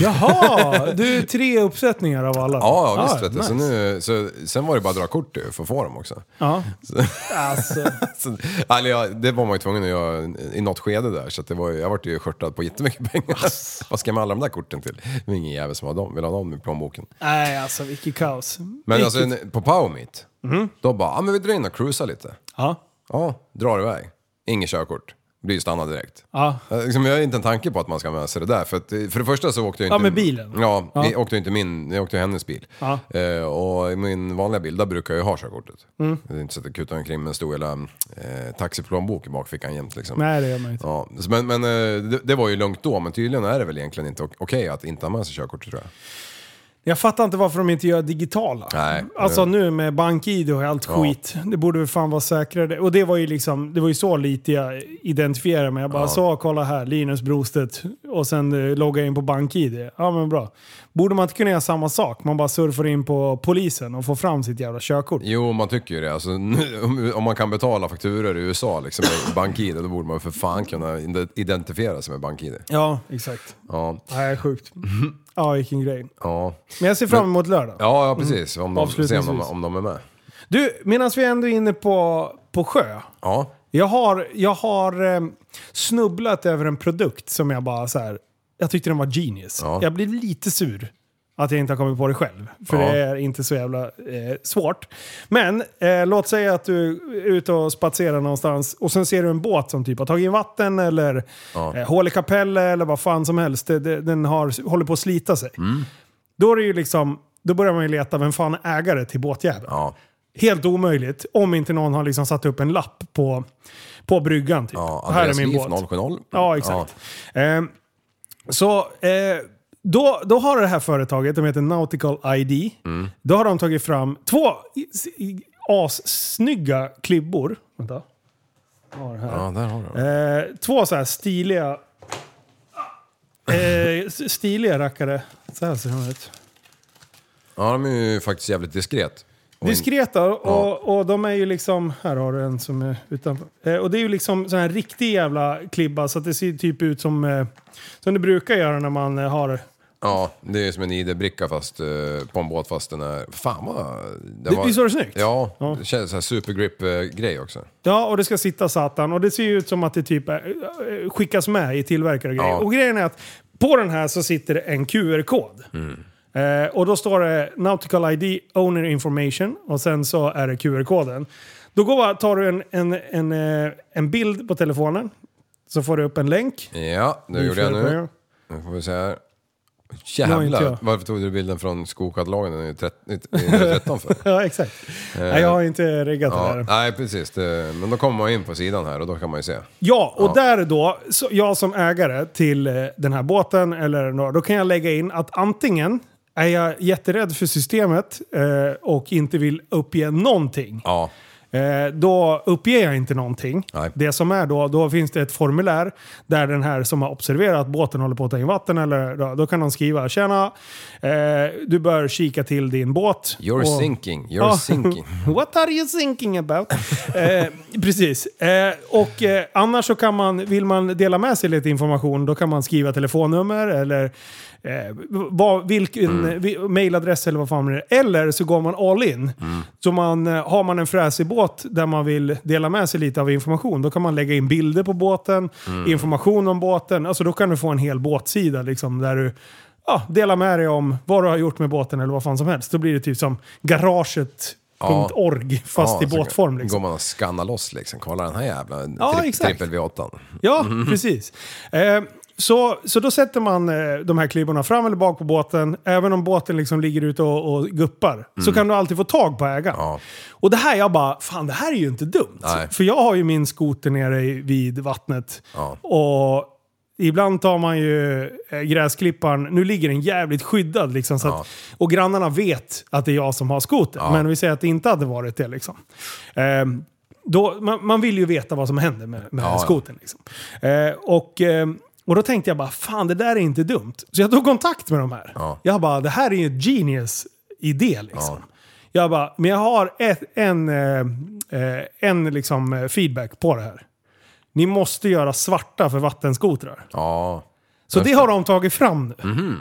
S6: Jaha, du är tre uppsättningar av alla. Ah,
S7: Ja, ja visst vet du.
S6: nice.
S7: Så nu, så, sen var det bara att dra kort ju, för att få dem också.
S6: Ja.
S7: Så,
S6: Alltså,
S7: så, alltså, ja, det var man ju tvungen att göra i något skede där. Så att det var, ju- jag vart ju skörtad på jättemycket pengar. Vad ska jag med alla de där korten till? Det är ingen jävel som har dem, vill ha dem i plånboken.
S6: nej alltså vilket kaos.
S7: Men alltså en- på Power Meet, då bara, ja ah, men vi drar in och cruisar lite.
S6: Ja.
S7: Ja, drar iväg. Inget körkort. Blir stannad direkt.
S6: Ja.
S7: Eh, Liksom, jag har inte en tanke på att man ska med sig det där. För, att, eh, för det första så åkte jag inte...
S6: Ja, med bilen.
S7: Ja,
S6: Ja.
S7: jag åkte ju inte min, jag åkte ju hennes bil.
S6: Ja.
S7: Eh, och i min vanliga bil, där brukar jag ju ha körkortet.
S6: Mm.
S7: Det är inte så att jag kutar omkring med en stor jävla eh, taxiplånbok i bakfickan jämt liksom.
S6: Nej det gör man inte.
S7: Ja, så men men eh, det, det var ju lugnt då, men tydligen är det väl egentligen inte o- okej att inte ha med sig körkortet tror jag.
S6: Jag fattar inte varför de inte gör digitala.
S7: Nej.
S6: Alltså nu med BankID och allt
S7: Ja.
S6: skit. Det borde väl fan vara säkrare. Och det var ju liksom, det var ju så lite jag identifierade mig. Jag bara så, kolla här, Linus Brostedt. Och sen eh, logga in på BankID. Ja men bra. Borde man inte kunna göra samma sak? Man bara surfar in på polisen och får fram sitt jävla körkort.
S7: Jo, man tycker ju det. Alltså, nu, om, om man kan betala fakturor i USA liksom, med bank-id, då borde man för fan kunna ide- identifiera sig med bank-id.
S6: Ja, exakt.
S7: Ja,
S6: Nej, sjukt. Ja, vilken grej.
S7: ja.
S6: Men jag ser fram emot lördag.
S7: ja, ja precis. Om de, se om, de,
S6: Mm. Avslutningsvis.
S7: om de är med.
S6: Du, medan vi ändå är inne på, på sjö.
S7: Ja,
S6: Jag har, jag har eh, snubblat över en produkt som jag bara så här, Jag tyckte den var genius.
S7: Ja.
S6: Jag blev lite sur att jag inte har kommit på det själv. För
S7: Ja.
S6: det är inte så jävla eh, svårt. Men eh, låt säga att du är ute och spatserar någonstans och sen ser du en båt som typ har tagit in vatten eller
S7: Ja.
S6: eh, hål i kapellet eller vad fan som helst. Det, det, den har, håller på att slita sig.
S7: Mm.
S6: Då, är det ju liksom, då börjar man ju leta vem fan är ägare till båtjäveln.
S7: ja,
S6: Helt omöjligt om inte någon har liksom satt upp en lapp på, på bryggan. Typ.
S7: ja.
S6: Här är
S7: Andreas
S6: min
S7: Lief,
S6: båt.
S7: 070.
S6: Ja, exakt. Ehm, så eh, då, då har det här företaget, de heter Nautical ID,
S7: Mm.
S6: då har de tagit fram två i- i- assnygga klibbor. Vänta. Jag har det här.
S7: Ja. ja, där har du det.
S6: Eh, två så här stiliga... Eh, s- stiliga rackare. Så här ser de ut.
S7: Ja, de är ju faktiskt jävligt diskret. Och in-
S6: Diskreta och, och de är ju liksom, här har du en som är utanför. Eh, och det är ju liksom sån här riktig jävla klibba så att det ser typ ut som, eh, som det brukar göra när man eh, har...
S7: Ja, det är ju som en ID-bricka fast eh, på en båt fast den är... Fan vad... Det
S6: Det- visst var det snyggt?
S7: Ja,
S6: Ja.
S7: det känns så här supergrip-grej eh, också.
S6: Ja, och det ska sitta satan och det ser ju ut som att det typ är, eh, skickas med i tillverkare och grejer.
S7: Ja.
S6: Och grejen är att på den här så sitter det en QR-kod. Eh, och då står det Nautical ID Owner Information och sen så är det QR-koden. Då går, bara- tar du en, en, en, eh, en bild på telefonen. Så får du upp en länk.
S7: Ja, det gjorde jag nu. Nu får vi se här.
S6: Det var inte jag.
S7: Jävlar, varför tog du bilden från skokatalogen när du är trett- i- i- när du är 13 för?
S6: Ja, exakt. Nej, jag har inte riggat det
S7: Eh, Ja,
S6: där.
S7: nej, precis. Det, men då kommer man in på sidan här och då kan man ju se.
S6: Ja, och där då, så jag som ägare till eh, den här båten, eller några, då kan jag lägga in att antingen är jag jätterädd för systemet eh, och inte vill uppge någonting.
S7: Ja,
S6: Eh, då uppger jag inte någonting.
S7: Nej.
S6: Det som är då, då finns det ett formulär där den här som har observerat att båten håller på att ta in vatten, eller, då, då kan de skriva “Tjena, eh, du bör kika till din båt”.
S7: you're
S6: Och-
S7: sinking, you're
S6: Ja.
S7: sinking.
S6: What are you thinking about? eh, precis. Eh, och eh, annars så kan man, vill man dela med sig lite information, då kan man skriva telefonnummer eller eh, vad, vilken vi, mailadress eller vad fan det är. Eller så går man all in. Så man, eh, har man en fräsig båt där man vill dela med sig lite av information, då kan man lägga in bilder på båten, information om båten. Alltså då kan du få en hel båtsida liksom, där du ja, dela med dig om vad du har gjort med båten eller vad fan som helst. Då blir det typ som garaget .org fast i
S7: så
S6: båtform.
S7: Går
S6: Liksom.
S7: man och skannar loss liksom. Kolla den här jävla
S6: Ja,
S7: tri-
S6: exakt.
S7: trippel V8.
S6: Ja,
S7: Mm.
S6: precis. Eh, så, så då sätter man eh, de här klibborna fram eller bak på båten. Även om båten liksom ligger ute och, och guppar så kan du alltid få tag på ägaren.
S7: Mm. Ja.
S6: Och det här, jag bara, fan det här är ju inte dumt.
S7: Nej.
S6: För jag har ju min skoter nere i- vid vattnet.
S7: Ja.
S6: Och ibland tar man ju eh, gräsklipparen, nu ligger den jävligt skyddad liksom. Så att,
S7: Ja.
S6: Och grannarna vet att det är jag som har skoter. Men vi säger att det inte hade varit det liksom. Ehm, då, man, man vill ju veta vad som händer med, med
S7: Ja.
S6: skotern. Liksom. Eh, och, ehm, och då tänkte jag bara, fan det där är inte dumt. Så jag tog kontakt med de här.
S7: Ja.
S6: Jag bara, det här är ju ett genius idé liksom. Jag bara, men jag har ett, en, eh, eh, en liksom eh, feedback på det här. Ni måste göra svarta för vattenskotrar.
S7: Ja.
S6: Så det har de tagit fram nu.
S7: Mhm,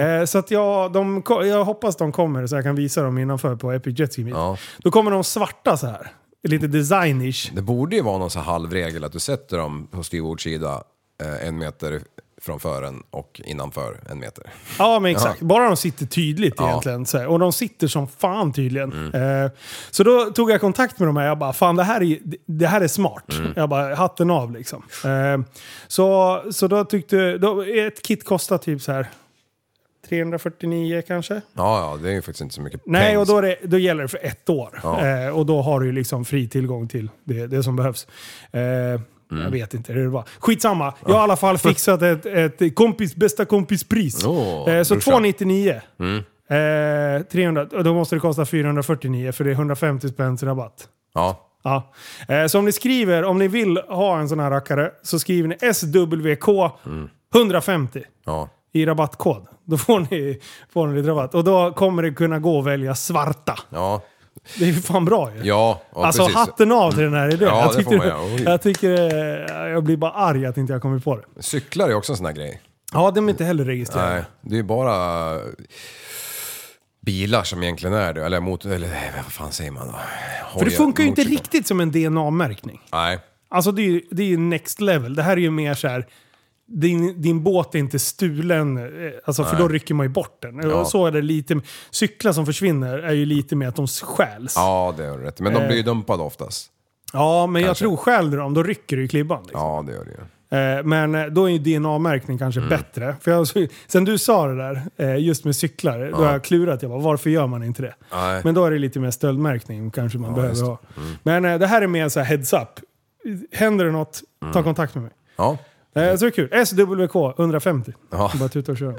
S6: Eh, så att jag, de, ko- jag hoppas de kommer så jag kan visa dem innanför på Epic Jet Ski Meet.
S7: Ja.
S6: Då kommer de svarta så här. Lite designish.
S7: Det borde ju vara någon så här halvregel att du sätter dem på styrbordssida eh, en meter framför en och innanför en meter.
S6: Ja, men exakt.
S7: Ja.
S6: Bara de sitter tydligt
S7: Ja. Mm.
S6: egentligen. Så här. Och de sitter som fan tydligen. Eh, så då tog jag kontakt med de här. Jag bara, fan det här är, det här är smart.
S7: Mm.
S6: Jag bara, hatten av liksom. Eh, så, så då tyckte, då, ett kit kostar typ så här 349 kanske.
S7: Ja, ja, det är ju faktiskt inte så mycket
S6: Nej,
S7: pengar.
S6: och då, är det, då gäller det för ett år.
S7: Ja.
S6: Eh, och då har du ju liksom fri tillgång till det, det som behövs. Eh,
S7: Mm.
S6: Jag vet inte hur det var. Skitsamma. Jag har i alla fall fixat ett, ett kompis, bästa kompispris.
S7: Åh,
S6: eh, så
S7: brorsan. Mm.
S6: 299. Eh, 300, och då måste det kosta 449 för det är 150 spänns rabatt.
S7: Ja.
S6: Ja. Eh, Så om ni skriver, om ni vill ha en sån här rackare, så skriver ni SWK
S7: Mm.
S6: 150
S7: Ja.
S6: i rabattkod. Då får ni, får ni lite rabatt. Och då kommer det kunna gå att välja svarta.
S7: Ja.
S6: Det är ju fan bra ju.
S7: Ja, ja
S6: alltså
S7: precis.
S6: hatten av till den här idén.
S7: Ja,
S6: jag,
S7: det
S6: tyckte,
S7: får man göra. Oj.
S6: jag, tycker, eh, jag blir bara arg att inte jag kommit på det.
S7: Cyklar är också en sån här grej.
S6: Ja, de är inte heller registrerade.
S7: Nej, det är ju bara bilar som egentligen är det. Eller mot... Eller vad fan säger man då?
S6: För det
S7: Hojar-
S6: funkar ju inte
S7: motorcyklar.
S6: riktigt som en DNA-märkning.
S7: Nej.
S6: Alltså det är ju, det är ju next level. Det här är ju mer så här. Din, din båt är inte stulen, eh, alltså för då rycker man ju bort den.
S7: Ja.
S6: Och Så är det lite, cyklar som försvinner är ju lite mer att de stjäls. Ja,
S7: Ja, det har du rätt i. Men de blir
S6: Eh.
S7: ju dumpade oftast.
S6: men
S7: Kanske.
S6: jag tror stjäl du dem, då rycker du i klibban. Liksom.
S7: Ja, Mm. det gör det ju.
S6: Eh, Men eh, då är ju DNA-märkning kanske bättre. För jag, alltså, sen du sa det där, eh, just med cyklar, då har jag klurat. Jag bara, varför gör man inte det?
S7: Nej.
S6: Men då är det lite mer stöldmärkning kanske man behöver
S7: just det. Mm.
S6: ha. Men eh, det här är mer så här heads up. Händer det något,
S7: Mm.
S6: ta kontakt med mig.
S7: Ja.
S6: Eh, Så det är kul. SWK 150.
S7: Ja.
S6: Bara tuta och köra.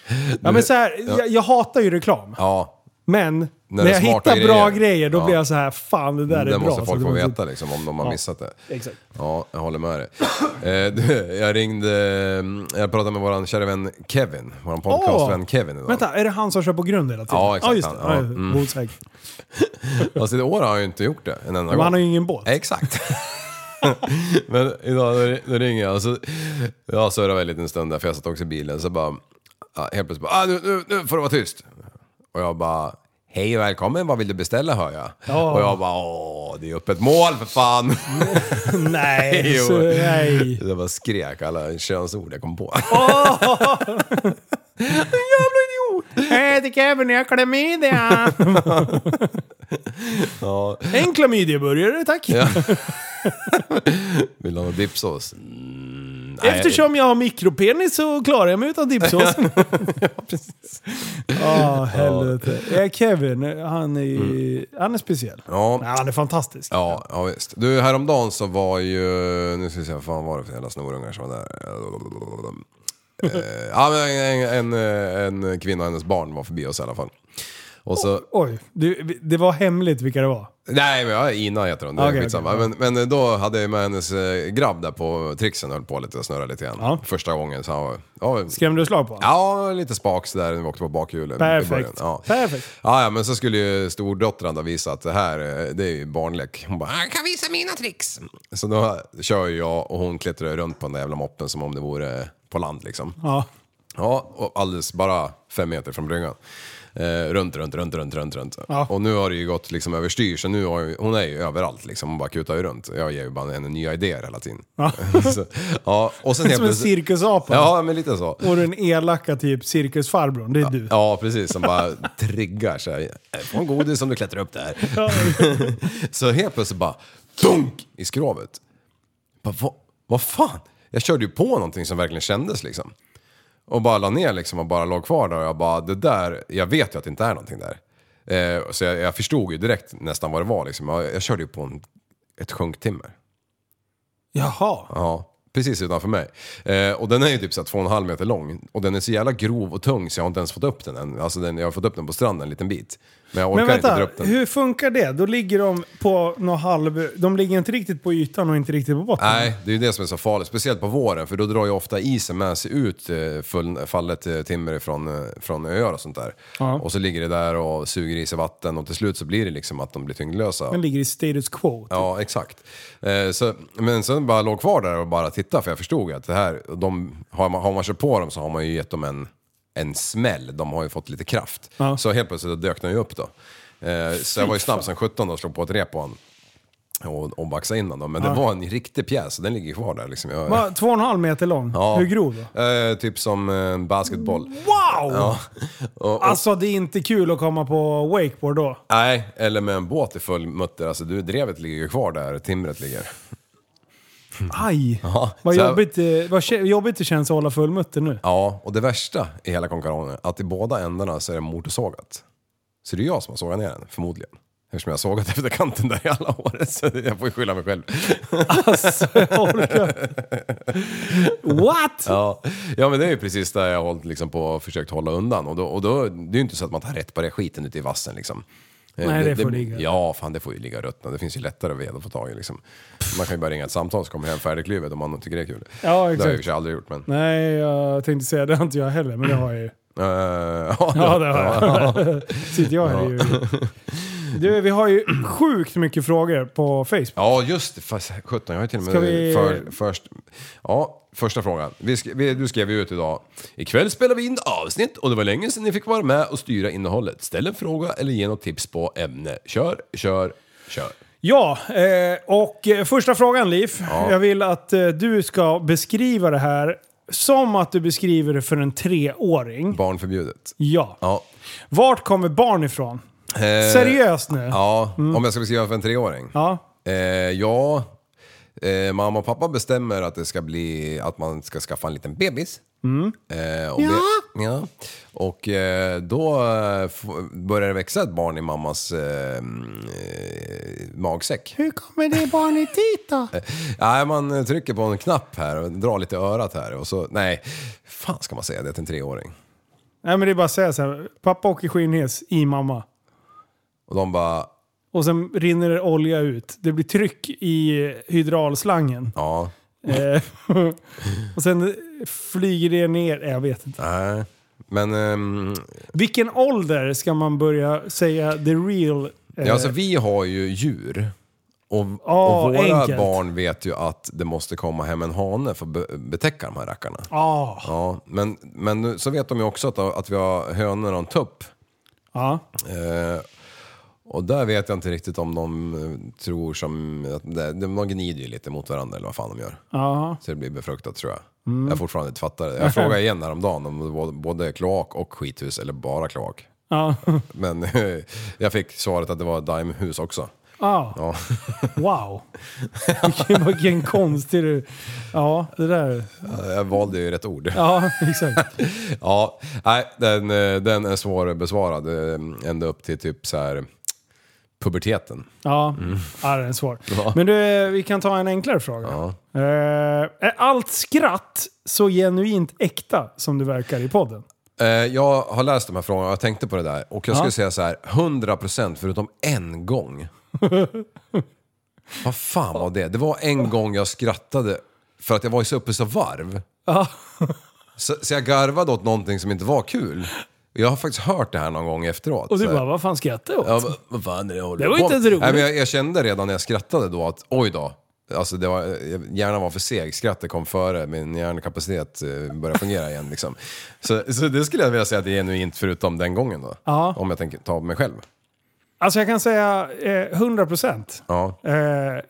S6: Ja, men så här, jag, jag hatar ju reklam.
S7: Ja.
S6: Men när,
S7: det är
S6: jag
S7: smarta
S6: hittar bra
S7: grejer.
S6: grejer då
S7: Ja. Mm,
S6: blir jag så här, fan det där
S7: Det,
S6: är bra.
S7: måste
S6: Så
S7: folk
S6: det
S7: få
S6: måste-
S7: veta liksom, om de har
S6: Ja.
S7: missat det.
S6: Exakt.
S7: Ja, jag håller med dig. Eh, du, jag ringde, eh, jag pratade med vår kära vän Kevin, vår podcastvän Kevin idag.
S6: Vänta, är det han som kör på grund hela tiden?
S7: Ja, exakt,
S6: Ja, just det.
S7: han.
S6: Ja,
S7: Ja,
S6: just det.
S7: mm.
S6: Bosäker.
S7: Alltså i år har han ju inte gjort det en enda
S6: Men
S7: gång.
S6: han har ju ingen båt.
S7: Exakt. Men idag då, då ringer jag och så, jag surrar väl en liten stund där för jag satt också i bilen så bara, ja, helt plötsligt bara, ah, nu, nu, nu får du vara tyst. Och jag bara, hej och välkommen, vad vill du beställa hör jag?
S6: Ja.
S7: Och jag bara, åh, det är öppet mål för fan.
S6: Nej,
S7: Jo.
S6: så, nej.
S7: Jag bara skrek alla könsord jag kom på.
S6: Hej, det är Kevin, jag har klamydia. En klamydiaburgare, tack.
S7: Vill du ha någon dipsås? Mm, nej.
S6: Eftersom jag har mikropenis så klarar jag mig utan dipsås. ja, precis. Ja, helvete. Eh, Kevin, han är, han är speciell.
S7: Mm. Ja.
S6: Nej, han är fantastisk.
S7: Ja, ja visst. Du, häromdagen så var ju... Nu ska vi se, vad fan var det för jävla snorungar som var där? Eh, ja, men en, en, eh, en kvinna och hennes barn var förbi oss i alla fall. Och så...
S6: Oj, det, det var hemligt vilka det var.
S7: Nej, men jag, Ina heter hon. Det är
S6: Okej,
S7: skitsamma.
S6: okej.
S7: Men, men då hade jag med hennes eh, grabb där på trixen höll på lite och snurrade lite grann.
S6: Ja.
S7: Första gången så han var... Ja,
S6: Skrämde du slag på honom?
S7: Ja, lite spak där när vi åkte på bakhjulen. i
S6: Perfekt.
S7: början. Ja.
S6: Perfekt.
S7: Ja, ja, men så skulle ju stordottern då visa att det här, eh, det är ju barnlek. Hon bara, han kan visa mina tricks. Så då kör ju jag och hon klättrar runt på den där jävla moppen som om det vore på land liksom.
S6: Ja.
S7: Ja, och alldeles bara fem meter från bryggan. Eh, runt, runt, runt, runt, runt, runt.
S6: Ja.
S7: Och nu har det ju gått liksom överstyr, så nu har ju, hon är ju överallt liksom. Hon bara kutar ju runt. Jag ger ju bara henne nya idéer hela tiden.
S6: Ja.
S7: så, ja, och sen helt
S6: Som en
S7: plötsligt-
S6: cirkusapa.
S7: Ja, men lite så.
S6: Och den elaka typ cirkusfarbrorn, det är du.
S7: Ja, precis. Som bara triggar så här. "Äh, Få en godis om du klättrar upp där. så helt plötsligt bara dunk i skrovet. Bara, vad, vad fan? Jag körde ju på någonting som verkligen kändes liksom. Och bara la ner liksom och bara låg kvar där och jag bara, det där, jag vet ju att det inte är någonting där. Eh, så jag, jag förstod ju direkt nästan vad det var liksom. Jag, jag körde ju på en, ett sjunktimmer.
S6: Jaha.
S7: Ja, precis utanför mig. Eh, och den är ju typ så här två och en halv meter lång. Och den är så jävla grov och tung så jag har inte ens fått upp den än. Alltså den, jag har fått upp den på stranden en liten bit. Men jag orkar
S6: Men
S7: inte dra
S6: vänta,
S7: upp den.
S6: hur funkar det? Då ligger de på någon halv... De ligger inte riktigt på ytan och inte riktigt på botten?
S7: Nej, det är ju det som är så farligt. Speciellt på våren, för då drar ju ofta isen med sig ut eh, full, fallet eh, timmer från, eh, från öar och sånt där.
S6: Ja.
S7: Och så ligger det där och suger i sig vatten och till slut så blir det liksom att de blir tyngdlösa.
S6: Den ligger i status quo.
S7: Ja, exakt. Eh, så, men sen bara låg kvar där och bara tittade för jag förstod ju att det här, de, har, man, har man kört på dem så har man ju gett dem en, en smäll. De har ju fått lite kraft.
S6: Ja.
S7: Så helt plötsligt dök den ju upp då. Eh, så jag var ju snabb som 17 och slog på ett rep på honom. Och, och baxade in honom. Men det var en riktig pjäs så den ligger kvar där. Liksom. Jag,
S6: Va, två och en halv meter lång?
S7: Ja.
S6: Hur grov då?
S7: Eh, typ som en basketboll.
S6: Wow!
S7: Ja. Och, och,
S6: Alltså det är inte kul att komma på wakeboard då.
S7: Nej, eller med en båt i full mutter. Alltså du, drevet ligger ju kvar där timret ligger.
S6: Aj!
S7: Mm. Ja,
S6: Vad,
S7: så-
S6: jobbigt, eh, vad kä- jobbigt det känns att hålla fullmutter nu.
S7: Ja, och det värsta i hela konkaronen är att i båda ändarna så är det motorsågat. Så det är jag som har sågat ner den, förmodligen. Eftersom jag har sågat efter kanten där i alla år. Så jag får ju skylla mig själv.
S6: Alltså jag orkar What?
S7: Ja, ja men det är ju precis där jag har hållit liksom på och försökt hålla undan. Och, då, och då, det är ju inte så att man tar rätt på det skiten ute i vassen liksom. Eh,
S6: Nej, det får ligga.
S7: Ja, fan det får ju ligga ruttna. Det finns ju lättare ved att få tag i liksom. Man kan ju bara ringa ett samtal så kommer jag hem färdigklyvet om man tycker det är kul.
S6: Ja,
S7: Det har jag i och
S6: exakt.
S7: för sig aldrig gjort men...
S6: Nej, jag tänkte säga det har inte jag heller, men det har jag ju.
S7: Eh, ja,
S6: Ja, det har jag. Sitter jag här är ju... Du, vi har ju sjukt mycket frågor på Facebook.
S7: Ja, just det. Fast, 17, jag har ju till och
S6: Ska
S7: med...
S6: vi-
S7: För, först, ja, första frågan. Vi sk vi, du skrev ju ut idag. Ikväll spelar vi in avsnitt och det var länge sedan ni fick vara med och styra innehållet. Ställ en fråga eller ge något tips på ämne. Kör, kör, kör.
S6: Ja, eh, och eh, första frågan Liv. Jag vill att eh, du ska beskriva det här som att du beskriver det för en treåring.
S7: Barn förbjudet.
S6: Ja.
S7: Ja. Eh,
S6: Vart kommer barn ifrån? Seriöst nu?
S7: Ja, om jag ska beskriva för en treåring.
S6: Ja.
S7: Eh, ja, eh, mamma och pappa bestämmer att det ska bli att man ska skaffa en liten bebis. Eh, och ja. Be, ja. Och eh, då eh, f- börjar det växa ett barn i mammas eh, mm, eh, magsäck.
S6: Hur kommer det barnet dit då?
S7: Nej, man eh, trycker på en knapp här och drar lite i örat här och så, nej, fan ska man säga det till en treåring?
S6: Nej men det är bara att säga så här. Pappa åker skinnhiss i mamma.
S7: Och de bara,
S6: Och sen rinner det olja ut. Det blir tryck i hydraulslangen.
S7: ja,
S6: Eh, och sen flyger det ner. Eh, Jag vet inte.
S7: nej. Men ehm,
S6: Vilken ålder ska man börja säga the real... eh,
S7: Ja, alltså vi har ju djur. Och,
S6: Ja,
S7: och våra
S6: enkelt.
S7: barn vet ju att det måste komma hem en hane för att be- betäcka de här rackarna.
S6: ah.
S7: Ja, men, men nu- så vet de ju också att, att vi har hönor och en tupp.
S6: Ja.
S7: Eh, och där vet jag inte riktigt om de eh, tror som... Att det, de gnider ju lite mot varandra eller vad fan de gör.
S6: Ja.
S7: Så det blir befruktat tror jag.
S6: Mm.
S7: Jag har fortfarande inte fattat det. Jag frågade igen häromdagen om det var både kloak och skithus eller bara kloak.
S6: Ja.
S7: Men jag fick svaret att det var daimhus också.
S6: Ah.
S7: Ja.
S6: Wow. Vilken, vilken konstig du... Ja, det där.
S7: Jag valde ju rätt ord. Ja,
S6: Ja, exakt.
S7: nej, den, eh, den är svår besvarad eh, ända upp till typ så här puberteten.
S6: Ja, ja den är svår.
S7: Mm. Ja.
S6: Men du, eh, vi kan ta en enklare fråga. Eh, är allt skratt så genuint äkta som du verkar i podden?
S7: Eh, Jag har läst de här frågorna och jag tänkte på det där och jag skulle säga så här 100% förutom en gång. Vad fan var det? Det var en gång jag skrattade för att jag var så uppe så varv. Så, så jag garvade åt någonting som inte var kul. Jag har faktiskt hört det här någon gång efteråt.
S6: Och du
S7: så här.
S6: bara, vad fan skrattar jag åt?
S7: Ja, vad, vad fan är det jag håller
S6: Det var
S7: på
S6: inte
S7: med?
S6: ens roligt.
S7: Nej, men jag, jag kände redan när jag skrattade då att oj då, Alltså det var, hjärnan var för seg, skrattet kom före, min hjärnkapacitet eh, började fungera igen. Liksom. Så, så det skulle jag vilja säga att det är genuint, förutom den gången då.
S6: Ja.
S7: Om jag tänker ta mig själv.
S6: Alltså jag kan säga eh, 100%
S7: Ja.
S6: eh,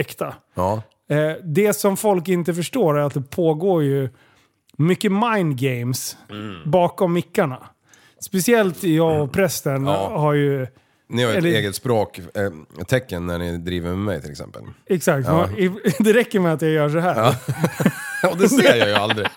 S6: äkta.
S7: Ja.
S6: Eh, det som folk inte förstår är att det pågår ju mycket mind games
S7: Mm.
S6: bakom mickarna. Speciellt jag och prästen
S7: Ja.
S6: har ju...
S7: Ni har ju ett
S6: Eller-
S7: eget språk, eh, tecken när ni driver med mig till exempel.
S6: Exakt,
S7: Ja.
S6: man, i, det räcker med att jag gör så här.
S7: Och det ser jag ju aldrig.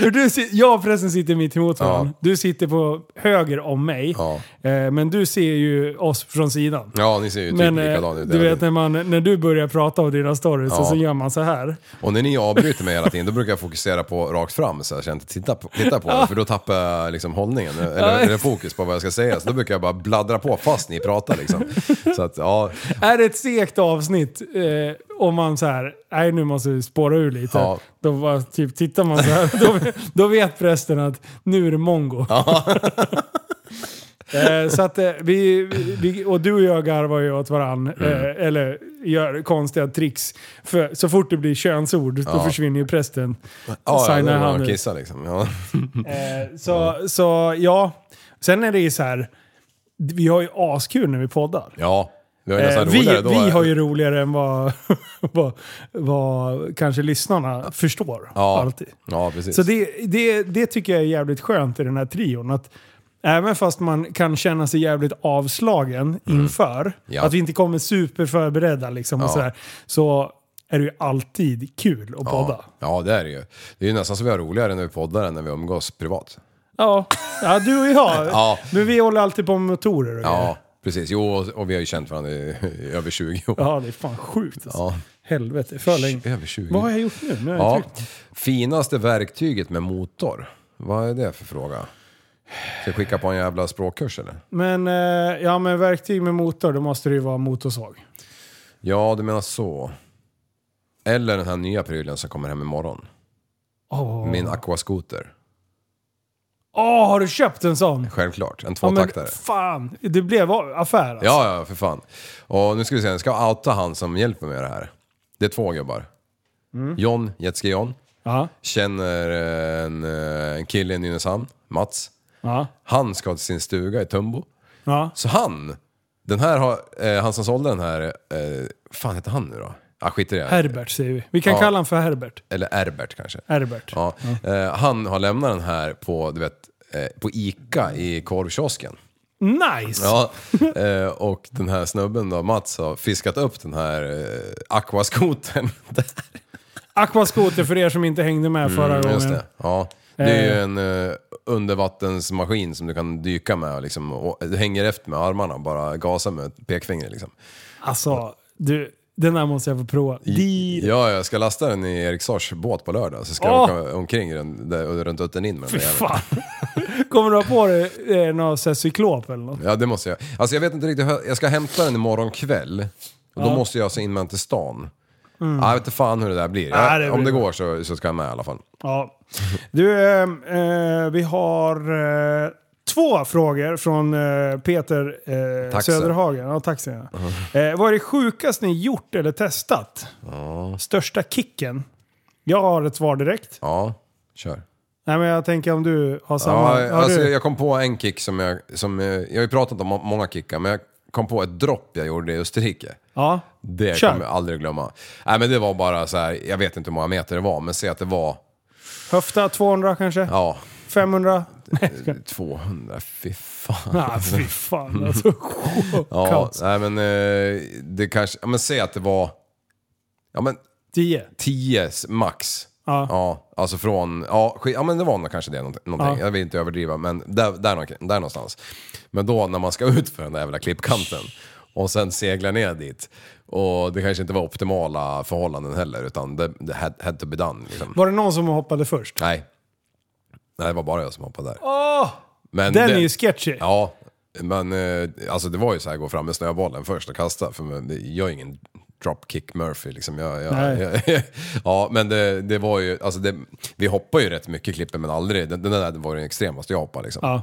S6: För du, si- jag och prästen sitter mitt emot varandra.
S7: Ja.
S6: Du sitter på höger om mig.
S7: Ja.
S6: Eh, men du ser ju oss från sidan.
S7: Ja, ni ser ju typ
S6: Men eh,
S7: likadana ut.
S6: du vet när, man, när du börjar prata om dina stories
S7: Ja.
S6: och så gör man så här.
S7: Och när ni avbryter mig hela tiden, då brukar jag fokusera på rakt fram så här, så jag inte tittar på, titta på det, för då tappar jag liksom hållningen, eller, eller fokus på vad jag ska säga. Så då brukar jag bara bladdra på fast ni pratar liksom. Så att, ja,
S6: Är det ett segt avsnitt eh, om man så här, nej nu måste vi spåra ur lite.
S7: Ja.
S6: Då bara, typ, tittar man så här, då, då vet prästen att nu är det mongo. eh, så att eh, vi, vi, och du och jag garvar ju åt varann,
S7: Mm.
S6: eh, eller gör konstiga tricks. För så fort det blir könsord, då försvinner ju prästen.
S7: ja, ja,
S6: Signar
S7: när
S6: han
S7: man
S6: ut.
S7: kissar liksom. Ja.
S6: Eh, så, så ja, sen är det ju så här, vi har ju askul när vi poddar.
S7: ja. Vi har ju
S6: Eh,
S7: nästan
S6: vi,
S7: roligare då.
S6: vi har ju roligare än vad, vad, vad kanske lyssnarna förstår.
S7: ja.
S6: Alltid.
S7: Ja, precis.
S6: Så det, det, det tycker jag är jävligt skönt i den här trion. Att även fast man kan känna sig jävligt avslagen inför,
S7: Mm. Ja.
S6: att vi inte kommer superförberedda liksom, och
S7: Ja.
S6: sådär, så är det ju alltid kul att podda.
S7: ja. ja, det är det ju. Det är ju nästan så vi har roligare när vi poddar än när vi umgås privat.
S6: Ja, ja du och jag.
S7: Ja.
S6: Men vi håller alltid på med motorer och grejer.
S7: Ja, precis. Jo, och, och vi har ju känt varandra i, i över 20 år.
S6: ja, det är fan sjukt alltså.
S7: Ja.
S6: Helvete, för länge.
S7: Över 20.
S6: Vad har jag gjort nu? nu har jag
S7: Ja.
S6: tryckt.
S7: Finaste verktyget med motor? Vad är det för fråga? Ska jag skicka på en jävla språkkurs eller?
S6: Men, eh, ja, men verktyg med motor, då måste det ju vara motorsåg.
S7: Ja, du menar så. Eller den här nya prylen som kommer hem imorgon.
S6: Åh,
S7: Min aquascooter.
S6: Åh, har du köpt en sån?
S7: Självklart. En
S6: Ja, men
S7: tvåtaktare.
S6: fan, det blev affär alltså.
S7: Ja, ja, för fan. Och nu ska vi se, jag ska outa han som hjälper mig med det här. Det är två gubbar.
S6: Mm.
S7: John, Jetski John.
S6: Ja,
S7: Känner en, eh, en kille i Nynäshamn, Mats.
S6: ja,
S7: Han ska till sin stuga i Tumbo.
S6: ja.
S7: Så han, den här har, eh, han som sålde den här, eh, fan heter han nu då? Ah, skit i det.
S6: Herbert säger vi. Vi kan
S7: Ja.
S6: kalla honom för Herbert.
S7: Eller Herbert kanske.
S6: Herbert.
S7: Ja. Eh, han har lämnat den här på, du vet, eh, på Ica i korvkiosken.
S6: Nice!
S7: Ja, eh, och den här snubben då, Mats, har fiskat upp den här eh, aquaskotern.
S6: Aquaskoter för er som inte hängde med förra gången.
S7: Mm, Just det. Ja. Det är ju en eh, undervattensmaskin som du kan dyka med liksom, och du hänger efter med armarna och bara gasar med ett pekfinger. Liksom.
S6: Alltså, du, den där måste jag få prova. Di-
S7: Ja, jag ska lasta den i Eriksfors båt på lördag, så ska
S6: Åh!
S7: jag åka omkring den, där, runt Uttern in med
S6: Fy
S7: den där jäveln.
S6: fan. Kommer du ha på dig eh, någon sån här cyklop eller något?
S7: Ja, det måste jag. Alltså jag vet inte riktigt, hur- jag ska hämta den imorgon kväll. Och då måste jag alltså in med den till stan. Ja, jag vet inte fan hur det där blir. Jag,
S6: Mm. Nej, det
S7: om
S6: blir
S7: det
S6: bra.
S7: går så, så ska jag med i alla fall.
S6: Ja. Du, eh, eh, vi har eh, två frågor från eh, Peter eh,
S7: Taxen.
S6: Söderhagen. Ja, taxen, ja. Eh, vad är det sjukaste ni gjort eller testat? Största kicken? Jag har ett svar direkt.
S7: Ja, kör.
S6: Nej, men jag tänker om du har samma.
S7: Ja,
S6: har
S7: alltså,
S6: du?
S7: jag kom på en kick som jag, som eh, jag har ju pratat om må- många kickar, men jag kom på ett dropp jag gjorde i Österrike.
S6: ja.
S7: Det
S6: Kör.
S7: kommer jag aldrig glömma. Nej men det var bara så här, jag vet inte hur många meter det var, men säg att det var,
S6: Höfta 200 kanske?
S7: ja,
S6: 500? Nej,
S7: 200, fy fan.
S6: ah, fy fan alltså.
S7: Ja,
S6: Kaos.
S7: nej men eh, det kanske, ja men säg att det var, ja men
S6: 10.
S7: 10 max.
S6: Ja.
S7: alltså från, ja, sk- ja men det var nog kanske det nånt- någonting.
S6: Ja.
S7: Jag vill inte överdriva men där, där, någonting- där någonstans. Men då när man ska ut för den där jävla klippkanten och sen segla ner dit. Och det kanske inte var optimala förhållanden heller utan det, det had, had to be done liksom.
S6: Var det någon som hoppade först?
S7: Nej. Nej, det var bara jag som hoppade där.
S6: Åh!
S7: Men
S6: den
S7: det-
S6: är ju sketchy.
S7: Ja, men eh, alltså det var ju så här gå fram med snöbollen först och kasta. För men det- jag är ingen dropkick Murphy liksom. Jag, jag,
S6: Nej.
S7: jag, ja, men det, det var ju, alltså det, vi hoppar ju rätt mycket i klippen men aldrig, den, den där var den extremaste jag hoppade liksom.
S6: Ja.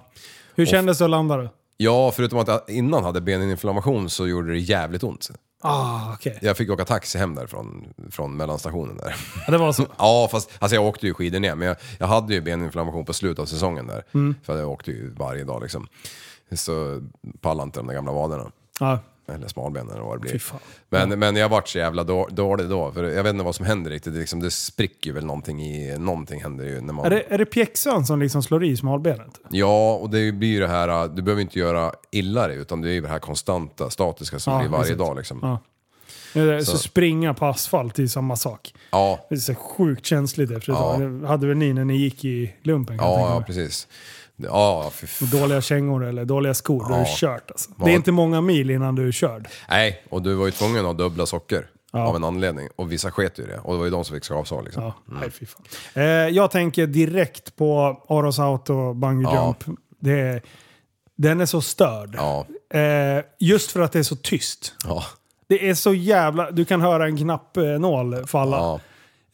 S6: Hur kändes det att landa då?
S7: Ja, förutom att jag innan hade beninflammation så gjorde det jävligt ont.
S6: Ah, okej.
S7: Jag fick åka taxi hem därifrån, från mellanstationen där.
S6: Ja, det var så.
S7: Ja, fast alltså jag åkte ju skidor ner, men jag, jag hade ju beninflammation på slutet av säsongen där.
S6: Mm.
S7: För jag åkte ju varje dag liksom. Så pallade inte de där gamla vaderna.
S6: Ja.
S7: Eller smalbenen eller vad det
S6: Fy
S7: blir.
S6: fan.
S7: Men, men jag vart så jävla då- dålig då, för jag vet inte vad som händer riktigt. Det, liksom, det spricker ju väl någonting i... Någonting händer ju när man...
S6: Är det, är det pjäxan som liksom slår i smalbenet?
S7: Ja, och det blir ju det här, äh, du behöver inte göra illa dig, utan det är ju det här konstanta, statiska som
S6: Ja,
S7: blir varje
S6: precis.
S7: dag liksom.
S6: Ja. Så.
S7: Så.
S6: så springa på asfalt är ju samma sak.
S7: Ja,
S6: Det är så sjukt känsligt efter ett
S7: Ja.
S6: tag. Det hade väl ni när ni gick i lumpen? Kan jag tänka
S7: ja, ja
S6: mig.
S7: precis. Ja, fy fan.
S6: Dåliga kängor eller dåliga skor, då är
S7: Ja.
S6: du kört alltså.
S7: Vad-
S6: Det är inte många mil innan du är körd.
S7: Nej, och du var ju tvungen att ha dubbla socker. Av en anledning. Och vissa sket ju i det. Och det var ju de som fick skavsår liksom.
S6: Ja. Nej, fy fan. Eh, jag tänker direkt på Aros Auto Bungee
S7: Ja.
S6: Jump. Det är, den är så störd.
S7: Ja.
S6: Eh, just för att det är så tyst.
S7: Ja.
S6: Det är så jävla... Du kan höra en knappnål falla.
S7: Ja.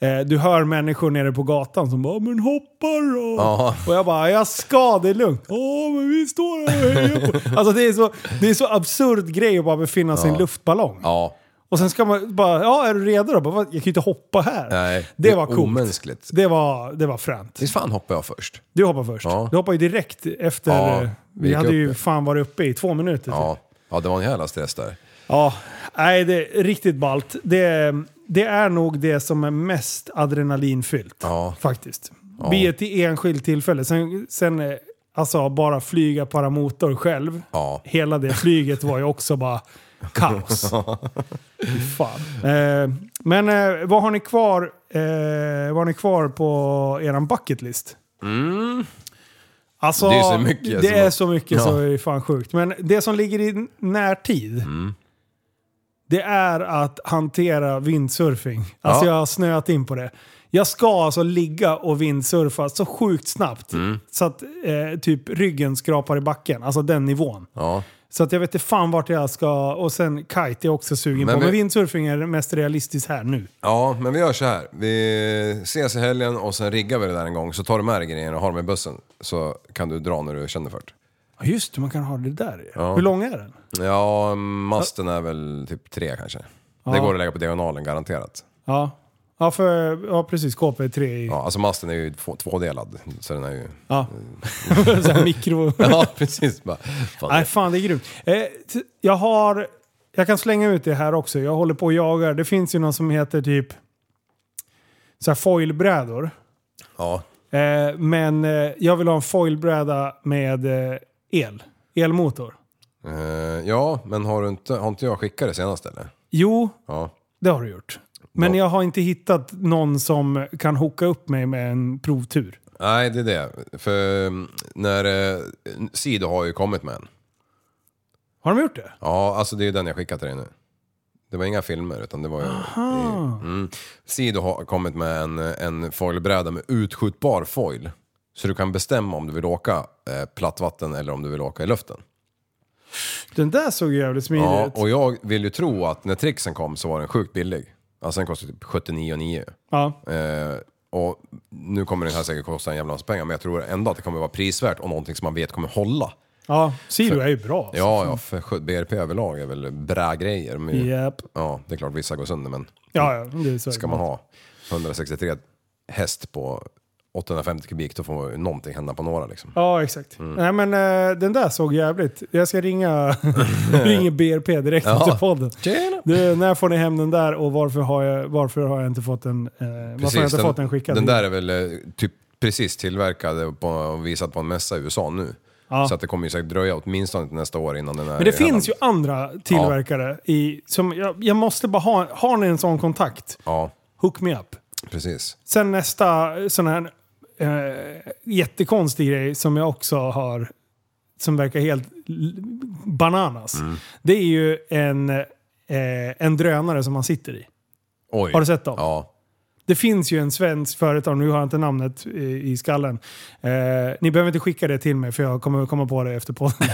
S6: Eh, du hör människor nere på gatan som bara “men hoppa då”.
S7: Ja.
S6: Och jag bara “jag ska, det är lugnt”. “Ja, men vi står här och hejar på”. Alltså det är så, det är så absurd grej att bara befinna sig i en luftballong.
S7: ja.
S6: Och sen ska man bara “ja, är du redo då?” bara, "Vad? “Jag kan ju inte hoppa här”.
S7: Nej.
S6: det,
S7: är
S6: var coolt.
S7: Omänskligt.
S6: Det var, det var fränt.
S7: Visst fan hoppade jag först?
S6: Du hoppar först.
S7: Ja.
S6: Du hoppar ju direkt efter...
S7: Ja,
S6: eh,
S7: vi
S6: vi
S7: gick
S6: hade ju
S7: upp.
S6: fan varit uppe i två minuter. typ.
S7: Ja. Ja, det var en jävla stress där.
S6: Ja, nej, det är riktigt ballt. Det, det är nog det som är mest adrenalinfyllt.
S7: Ja.
S6: Faktiskt. Be ett enskilt tillfälle. Sen, sen eh, alltså, bara flyga paramotor själv.
S7: Ja.
S6: Hela det flyget var ju också bara kaos. Fy Fan. Eh, men eh, vad har ni kvar, eh, vad har ni kvar på eran bucket list? Alltså,
S7: Det är så mycket
S6: Det
S7: som-
S6: är så mycket
S7: Ja.
S6: så är det fan sjukt. Men det som ligger i närtid, det är att hantera vindsurfing. Alltså
S7: Ja.
S6: jag har snöat in på det. Jag ska alltså ligga och vindsurfa så sjukt snabbt så att eh, typ ryggen skrapar i backen. Alltså den nivån.
S7: Ja.
S6: Så att jag vet inte fan vart jag ska. Och sen kite är jag också sugen
S7: Men
S6: på.
S7: vi-
S6: Men vindsurfing är det mest realistiskt här nu.
S7: Ja, men vi gör så här. Vi ses i helgen och sen riggar vi det där en gång. Så tar du med dig grejerna och har dem i bussen. Så kan du dra när du känner för det.
S6: Ja just det, man kan ha det där ju. Hur lång är den?
S7: Ja, masten är väl typ tre kanske. Det går att lägga på diagonalen garanterat.
S6: Ja. Ja, för, ja precis. KP3 i... Ja.
S7: Ja, alltså masten är ju två- tvådelad. Så den är ju...
S6: så här mikro...
S7: Ja, precis. Bara, fan,
S6: Nej, fan det är grymt. Eh, t- jag har... Jag kan slänga ut det här också. Jag håller på och jagar. Det finns ju någon som heter typ... Så här foilbrädor.
S7: Ja,
S6: Eh, men eh, jag vill ha en foilbräda med eh, el. Elmotor.
S7: Eh, ja, men har, du inte, har inte jag skickat det senast eller?
S6: Jo,
S7: Ja.
S6: det har du gjort. Men
S7: Ja.
S6: jag har inte hittat någon som kan hooka upp mig med en provtur.
S7: Nej, det är det. För mm, när... Eh, Sido har ju kommit med en.
S6: Har de gjort det?
S7: Ja, alltså det är den jag skickat till dig nu. Det var inga filmer, utan det var ju... i- Mm. Sido har kommit med en, en foilbräda med utskjutbar foil. Så du kan bestämma om du vill åka eh, plattvatten eller om du vill åka i luften.
S6: Den där såg ju jävligt smidig
S7: Ja,
S6: ut.
S7: och jag vill ju tro att när trixen kom så var den sjukt billig. Alltså den kostade typ 79,9.
S6: Ja.
S7: Eh, och nu kommer den här säkert kosta en jävla massa pengar, men jag tror ändå att det kommer vara prisvärt och någonting som man vet kommer hålla.
S6: ja, Silo är ju bra. alltså.
S7: Ja, ja, för sjut- BRP överlag är väl bra grejer. De är ju-
S6: Japp.
S7: Ja, det är klart vissa går sönder, men
S6: Ja, ja. Det är så
S7: ska man ha 163 häst på 850 kubik, då får ju någonting hända på några liksom.
S6: Ja, exakt. Nej, men eh, den där såg jävligt. Jag ska ringa, ringa BRP direkt efter podden.
S7: Tjena!
S6: Du, när får ni hem den där och varför har jag, varför har jag inte fått den, eh, varför har jag inte fått den skickad?
S7: den där är väl eh, typ precis tillverkad på, och visad på en mässa i USA nu.
S6: Ja.
S7: Så att det kommer ju säkert dröja åtminstone till nästa år innan den är
S6: Men det
S7: i hela
S6: finns ju
S7: landet.
S6: andra tillverkare i, som jag, jag måste bara ha, har ni en sån kontakt,
S7: Ja,
S6: hook me up.
S7: precis.
S6: Sen nästa eh, sån här eh, jättekonstig grej som jag också har, som verkar helt l- bananas.
S7: Mm.
S6: Det är ju en, eh, en drönare som man sitter i.
S7: Oj.
S6: Har du sett dem?
S7: Ja.
S6: Det finns ju en svensk företag, nu har jag inte namnet i, i skallen. Eh, ni behöver inte skicka det till mig för jag kommer komma på det efter podden.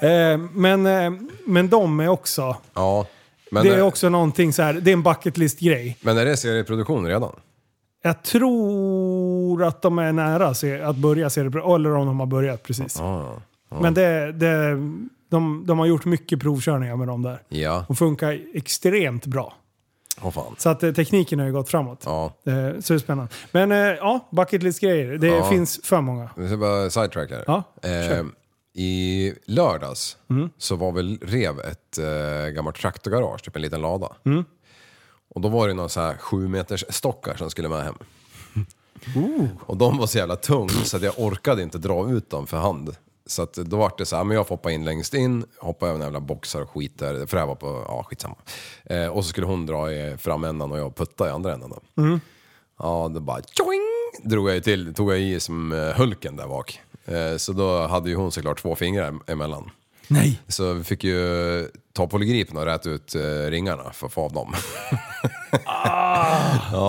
S6: eh, men, eh, men de är också,
S7: Ja. Men,
S6: det är
S7: eh,
S6: också någonting så här, det är en bucket list grej.
S7: men är det serieproduktion redan?
S6: Jag tror att de är nära se, att börja se det, eller om de har börjat precis. Men det, det, de, de har gjort mycket provkörningar med dem där.
S7: Ja,
S6: De funkar extremt bra.
S7: åh fan.
S6: Så att eh, tekniken har ju gått framåt.
S7: Ja.
S6: Eh, Så det är spännande. Men eh, ja, bucket list grejer. Det
S7: Ja.
S6: finns för många.
S7: Vi ska bara sidetrack här.
S6: Ja,
S7: eh, I lördags så var väl rev ett eh, gammalt traktorgarage, typ en liten lada. Och då var det någon så här sju meters stockar som skulle med hem. Och de var så jävla tung så att jag orkade inte dra ut dem för hand. Så att då var det så här, men jag får hoppa in längst in, hoppa över några jävla boxar och skit där. För det här var på, ja skitsamma. Eh, och så skulle hon dra i framändan och jag putta i andra änden då. Ja, då bara tjoing, drog jag ju till, tog jag i som eh, Hulken där bak. Eh, så då hade ju hon såklart två fingrar em- emellan.
S6: Nej!
S7: Så vi fick ju ta polygripen och räta ut eh, ringarna för att få av dem.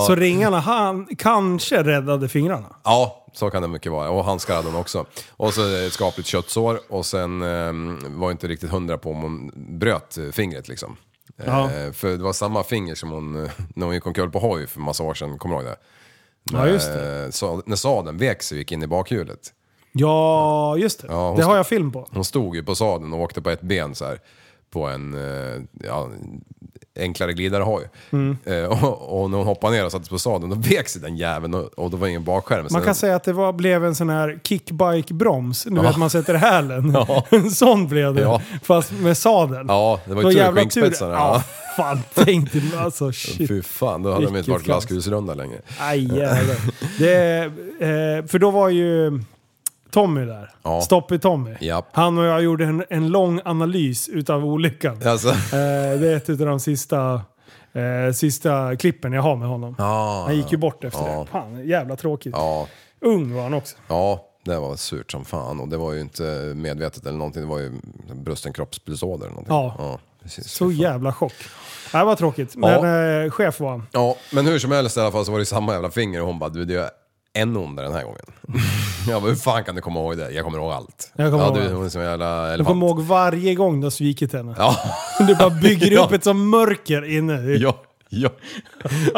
S6: Så ringarna han, kanske räddade fingrarna.
S7: Ja, så kan det mycket vara. Och handskar hade hon också. Och så ett skapligt köttsår och sen eh, var jag inte riktigt hundra på om hon bröt eh, fingret liksom. Eh,
S6: Ja.
S7: För det var samma finger som hon, eh, när hon gick omkull på hoj för massa år sedan, kommer du ihåg det?
S6: Ja, just det.
S7: Eh, sa- när sadeln vek sig och gick in i bakhjulet.
S6: Ja, just det.
S7: Ja, hon
S6: det har
S7: ska-
S6: jag film på.
S7: Hon stod ju på sadeln och åkte på ett ben så här på en eh, ja, enklare glidarhoj.
S6: Mm.
S7: Eh, och, och när hon hoppade ner och sattes på sadeln då vek sig den jäveln och, och då var ingen bakskärm. Så
S6: Man kan
S7: den-
S6: säga att det var, blev en sån här kickbike-broms. Nu vet man sätter hälen. En sån blev det.
S7: Ja.
S6: Fast med sadeln.
S7: Ja, det var
S6: Då
S7: ju tur
S6: jävla
S7: med skinkspetsarna.
S6: Ja,
S7: Ja.
S6: fan tänkte du. Alltså shit.
S7: Fy fan, då hade de inte
S6: Vilken
S7: varit
S6: flans.
S7: glaskusrunda längre.
S6: Aj, jävlar. det, eh, för då var ju Tommy där.
S7: Ja.
S6: Stoppy Tommy.
S7: Japp.
S6: Han och jag gjorde en, en lång analys utav olyckan.
S7: Alltså.
S6: Eh, det är ett av de sista, eh, sista klippen jag har med honom.
S7: Ja.
S6: Han gick ju bort efter
S7: Ah. Ja.
S6: det. Fan, jävla tråkigt.
S7: Ja,
S6: Ung var han också.
S7: ja, det var surt som fan och det var ju inte medvetet eller någonting. Det var ju brusten kroppspulsåder eller någonting.
S6: Ja.
S7: precis.
S6: Så jävla chock. Det här var tråkigt. Men eh, chef var han.
S7: Ja, men hur som helst i alla fall så var det samma jävla finger och hon bara du det gör ännu ondare den här gången. jag bara, hur fan kan du komma ihåg det? Jag kommer ihåg allt.
S6: Jag kommer
S7: ja,
S6: ihåg
S7: du,
S6: allt.
S7: hon är som en jävla
S6: Jag kommer
S7: elefant.
S6: ihåg varje gång du har svikit henne.
S7: Ja,
S6: Du bara bygger
S7: Ja.
S6: upp ett som mörker inne. Det är
S7: ja, ja.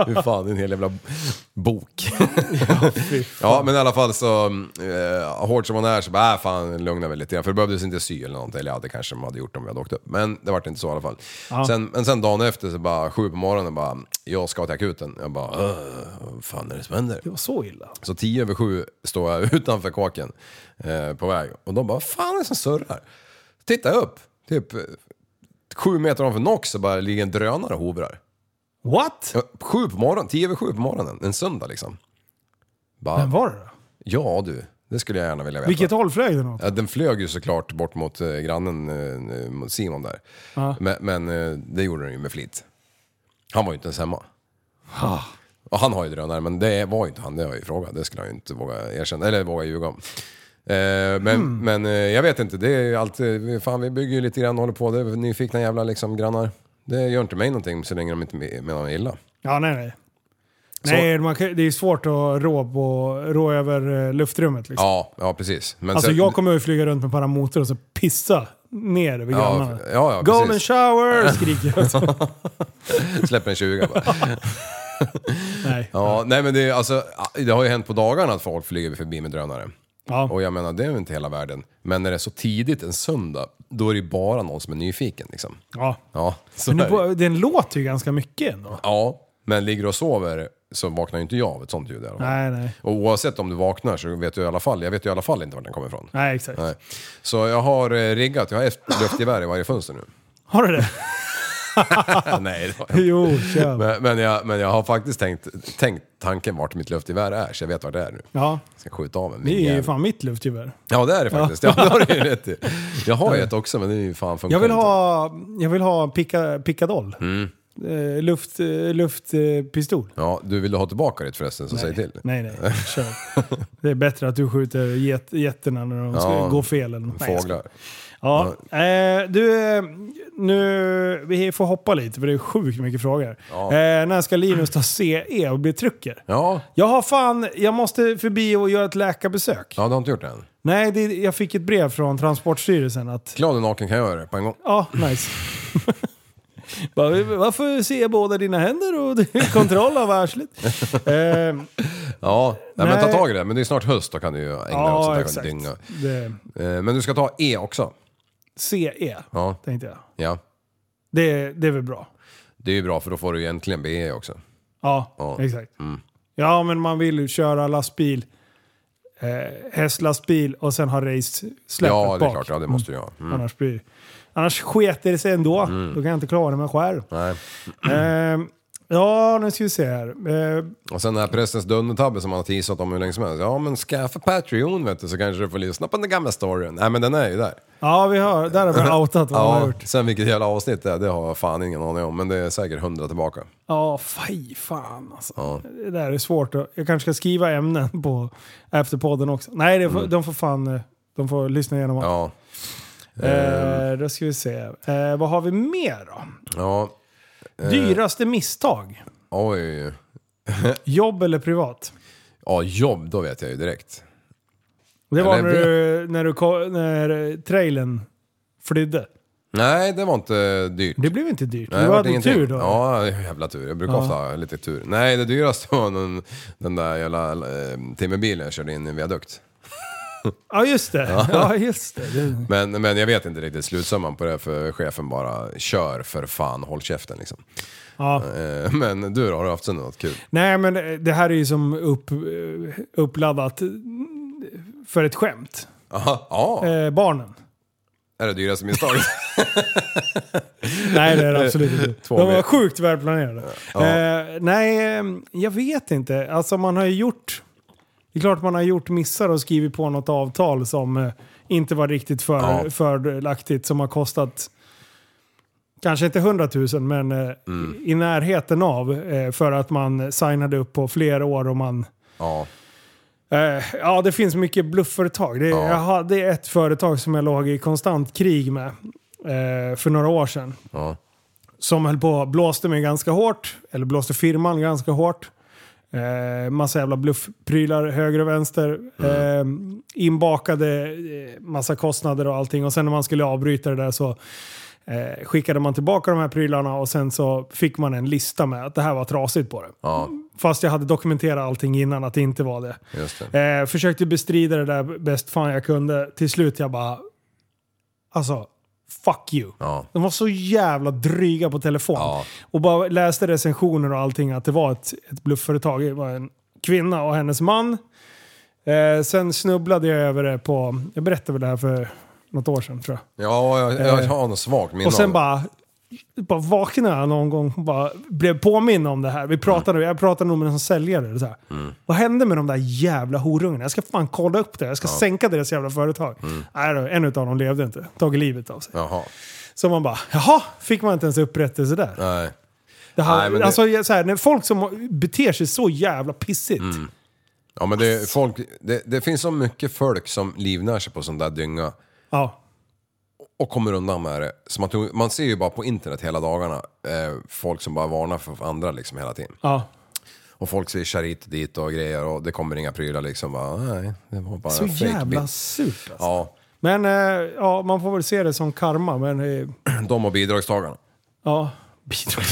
S7: Hur fan, det är en hel jävla bok.
S6: fy.
S7: Ja, men i alla fall så, eh, hårt som hon är så bara, äh, fan lugna väl lite grann. För det behövdes inte sy eller någonting. Eller ja, det kanske de hade gjort om vi hade åkt upp. Men det vart inte så i alla fall. Sen, men sen dagen efter så bara, sju på morgonen bara, jag ska till akuten. Jag bara, "Åh, vad fan är det som händer?
S6: Det var så illa.
S7: Så tio över sju står jag utanför kåken eh, på väg. Och de bara, vad fan är det som surrar? Tittar jag upp, typ eh, sju meter ovanför Nox så bara ligger en drönare och hovrar.
S6: What?
S7: Ja, Sju på morgonen, tio över sju på morgonen, en söndag liksom. Bara,
S6: Vem var det då?
S7: Ja du, det skulle jag gärna vilja veta.
S6: Vilket håll flög den åt?
S7: Ja, den flög ju såklart bort mot eh, grannen eh, mot Simon där. Men, men eh, det gjorde den ju med flit. Han var ju inte ens hemma. Och han har ju drönare, men det var ju inte han, det har jag ju frågat. Det skulle han ju inte våga erkänna, eller våga ljuga om. Eh, men men eh, jag vet inte, det är ju alltid, fan vi bygger ju lite grann och håller på, det är nyfikna jävla liksom grannar. Det gör inte mig någonting så länge de inte menar illa.
S6: Ja, nej, nej. Nej, man kan, det är svårt att rå, på, rå över eh, luftrummet. Liksom.
S7: Ja, ja precis. Men
S6: alltså
S7: sen-
S6: jag kommer ju flyga runt med paramotor och så pissa ner över
S7: Ja,
S6: grannarna.
S7: ja, ja,
S6: Golden
S7: precis.
S6: shower skriker jag. Så,
S7: släpper en 20 bara.
S6: nej. Ja.
S7: Ja, nej men det, är alltså, det har ju hänt på dagarna att folk flyger förbi med drönare. Och jag menar, det är ju inte hela världen. Men när det är så tidigt en söndag, då är det ju bara någon som är nyfiken liksom.
S6: Ja.
S7: Ja, så
S6: Men
S7: är det.
S6: nu, den låter ju ganska mycket ändå.
S7: ja, men ligger och sover så vaknar ju inte jag av ett sånt ljud i alla fall.
S6: Nej, nej.
S7: Och oavsett om du vaknar så vet du i alla fall, jag vet ju i alla fall inte var den kommer ifrån.
S6: Nej, exakt.
S7: Nej. Så jag har eh, riggat, jag har ett luftgevär i varje fönster nu.
S6: Har du det?
S7: nej, det har jag inte.
S6: jo, kör.
S7: Men, men, jag, men jag har faktiskt tänkt, tänkt tanken vart mitt luftgevär är, så jag vet var det är nu.
S6: Ja,
S7: Jag ska skjuta av en
S6: det är ju
S7: minjävel.
S6: fan mitt luftgevär.
S7: Ja det är det faktiskt. Ja, det har du ju rätt i. Jag har ju ett också men det är ju fan funkar
S6: Jag vill
S7: inte.
S6: ha, jag vill ha picka, pickadoll.
S7: Mm.
S6: Eh, luft, eh, luftpistol.
S7: Ja, du ville ha tillbaka ditt förresten så säg till.
S6: Nej, nej. Kör. Det är bättre att du skjuter get, getterna när de ska
S7: Ja,
S6: gå fel. Eller något. Nej, jag skojar.
S7: Fåglar.
S6: Ja. Eh, du, eh, nu, vi får hoppa lite för det är sjukt mycket frågor. Eh, när ska Linus ta CE och bli trucker?
S7: Ja.
S6: Jag har fan, jag måste förbi och göra ett läkarbesök.
S7: ja, du har inte gjort det än.
S6: Nej, det, jag fick ett brev från Transportstyrelsen att
S7: Glad och naken kan jag göra det på en gång.
S6: Ja, nice. Bara, Varför ser jag båda dina händer och kontroll av arslet? eh,
S7: Ja, nej, men ta
S6: Nej.
S7: tag i det. Men det är snart höst, då kan du ju ägna dig åt
S6: ja,
S7: sånt där
S6: exakt.
S7: dynga.
S6: Det,
S7: Eh, Men du ska ta E också.
S6: CE,
S7: Ja.
S6: tänkte jag.
S7: Ja.
S6: Det, det är väl bra?
S7: Det är ju bra för då får du ju äntligen BE också.
S6: Ja,
S7: Ja. Mm.
S6: exakt. Ja, men man vill ju köra lastbil, eh, hästlastbil och sen ha race-släpet
S7: ja, det är
S6: bak.
S7: klart. Ja, det måste du ha. Mm.
S6: Annars, blir, annars sketer det sig ändå. Då kan jag inte klara mig själv.
S7: Nej. Mm.
S6: Eh, ja, nu ska vi se här. Eh,
S7: Och sen den här Prästens Dundertabbe som man har teasat om hur länge som helst. Ja, men skaffa Patreon vet du så kanske du får lyssna på den gamla storyn. Nej, men den är ju där.
S6: ja, vi hör. Där har vi outat vad man har gjort.
S7: sen vilket jävla avsnitt det är, det har jag fan ingen aning om. Men det är säkert hundra tillbaka.
S6: Ja, fy fan alltså. Det där är svårt. att- Jag kanske ska skriva ämnen på efterpodden också. Nej, det får, de får fan... eh, De får lyssna igenom allt.
S7: Mm. Ja.
S6: Eh, då ska vi se. Eh, vad har vi mer då?
S7: Ja. Eh.
S6: Dyraste misstag?
S7: Oj.
S6: Jobb eller privat?
S7: Ja, jobb, då vet jag ju direkt.
S6: Det var
S7: Eller
S6: när du, när, du, ko- när trailern flydde.
S7: Nej, det var inte dyrt.
S6: Det blev inte dyrt.
S7: Nej,
S6: du
S7: det
S6: hade
S7: ingenting.
S6: tur då.
S7: Ja, jävla tur. Jag brukar
S6: Ja.
S7: ofta ha lite tur. Nej, det dyraste var den, den där jävla eh, timmerbilen jag körde in i en viadukt.
S6: Ja, just det. Ja, ja just det. det.
S7: Men, men jag vet inte riktigt slutsumman på det för chefen bara kör för fan, håll käften liksom.
S6: Ja.
S7: Eh, Men du då, har du haft något kul?
S6: Nej, men eh, det här är ju som upp, eh, uppladdat eh, för ett skämt.
S7: Aha, ja,
S6: Eh, barnen.
S7: är det dyraste misstaget?
S6: Nej, det är det absolut inte.
S7: Två
S6: De var
S7: med.
S6: sjukt välplanerade.
S7: Ja.
S6: Eh, nej, eh, jag vet inte. Alltså man har ju gjort... Det är klart man har gjort missar och skrivit på något avtal som eh, inte var riktigt för,
S7: Ja.
S6: fördelaktigt som har kostat kanske inte 100 000 men eh,
S7: Mm.
S6: i närheten av eh, för att man signade upp på flera år och man
S7: Ja,
S6: Eh, ja, det finns mycket bluffföretag. Det,
S7: Ja.
S6: jag hade ett företag som jag låg i konstant krig med eh, för några år sedan.
S7: ja,
S6: Som höll på blåste mig ganska hårt, eller blåste firman ganska hårt. Eh, massa jävla bluffprylar höger och vänster. Eh, inbakade eh, massa kostnader och allting. Och sen när man skulle avbryta det där så eh, skickade man tillbaka de här prylarna och sen så fick man en lista med att det här var trasigt på det.
S7: ja,
S6: Fast jag hade dokumenterat allting innan att det inte var det.
S7: just det.
S6: Eh, försökte bestrida det där bäst fan jag kunde. Till slut jag bara... Alltså, fuck you.
S7: Ja.
S6: De var så jävla dryga på telefon.
S7: Ja.
S6: Och bara läste recensioner och allting att det var ett, ett bluffföretag. Det var en kvinna och hennes man. Eh, sen snubblade jag över det på... Jag berättade väl det här för något år sedan tror jag.
S7: Ja, jag, jag har något svagt minne
S6: Eh, Och
S7: av
S6: sen
S7: det.
S6: bara, bara vaknade jag någon gång och bara blev påminn om det här. Vi pratade, Jag pratade nog med en säljare. eller Så här.
S7: Mm.
S6: Vad hände med de där jävla horungarna? Jag ska fan kolla upp det. Jag ska sänka deras jävla företag.
S7: Mm.
S6: Nej då, en utav dem levde inte. Tagit livet av sig.
S7: Jaha,
S6: Så man bara, jaha, fick man inte ens upprättelse där?
S7: nej.
S6: Det här,
S7: Nej, men det-
S6: alltså, så här, när folk som beter sig så jävla pissigt.
S7: Mm. Ja, men det, folk, det, det finns så mycket folk som livnär sig på sån där dynga.
S6: Ja.
S7: och kommer undan med det. Så man, tror- man ser ju bara på internet hela dagarna eh, folk som bara varnar för andra liksom hela tiden.
S6: ja.
S7: Och folk ser hit och dit och grejer och det kommer inga prylar liksom. Bara, nej, det var bara
S6: Så
S7: en fake
S6: jävla
S7: bild.
S6: surt alltså.
S7: Ja,
S6: Men eh, ja, man får väl se det som karma. Men, eh,
S7: de och bidragstagarna.
S6: Ja, bidrag.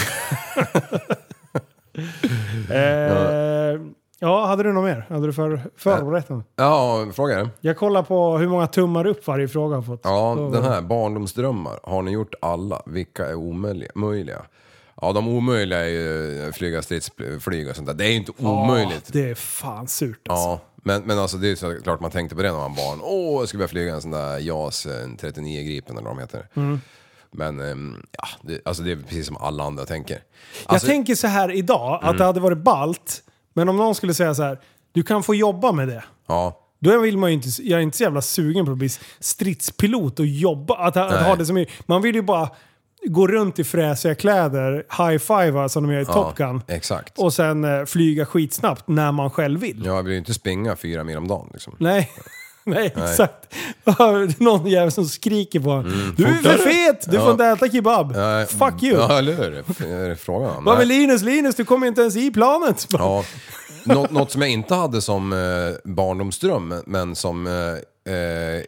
S6: eh, ja, hade du något mer? Hade du för, förberett något?
S7: Ja, fråga är det.
S6: Jag kollar på hur många tummar upp varje fråga har fått.
S7: Ja,
S6: Så-
S7: den här barndomsdrömmar. Har ni gjort alla? Vilka är omöjliga? möjliga? Ja, de omöjliga är ju flyga stridsflyg och sånt där. Det är ju inte omöjligt.
S6: Ja, det är fan surt alltså.
S7: Ja, men, men alltså det är ju såklart man tänkte på det när man var barn. Åh, jag skulle vilja flyga en sån där JAS eh, 39 Gripen eller vad de heter.
S6: Mm.
S7: Men ehm, ja, det, alltså det är precis som alla andra tänker. Alltså, Mm.
S6: jag tänker så här idag, att det hade varit balt men om någon skulle säga så här, du kan få jobba med det.
S7: Ja,
S6: Då vill man ju inte, jag är inte så jävla sugen på att bli stridspilot och jobba. Att, att ha det som, man vill ju bara gå runt i fräsiga kläder, high-fiva som de gör i Top Gun.
S7: exakt.
S6: Och sen eh, flyga skitsnabbt när man själv vill.
S7: Jag vill ju inte springa fyra mil om dagen liksom.
S6: Nej. Nej, exakt. Någon jävel som skriker på en. Du är för fet! Du får inte äta kebab!
S7: Mm. Nej,
S6: Fuck you!
S7: Ja, eller hur? F- Är det frågan? om?
S6: Vad
S7: Nej.
S6: med Linus? Linus, du kommer inte ens i planet!
S7: Ja. Nå något som jag inte hade som eh, barndomsdröm, men som... Eh, eh,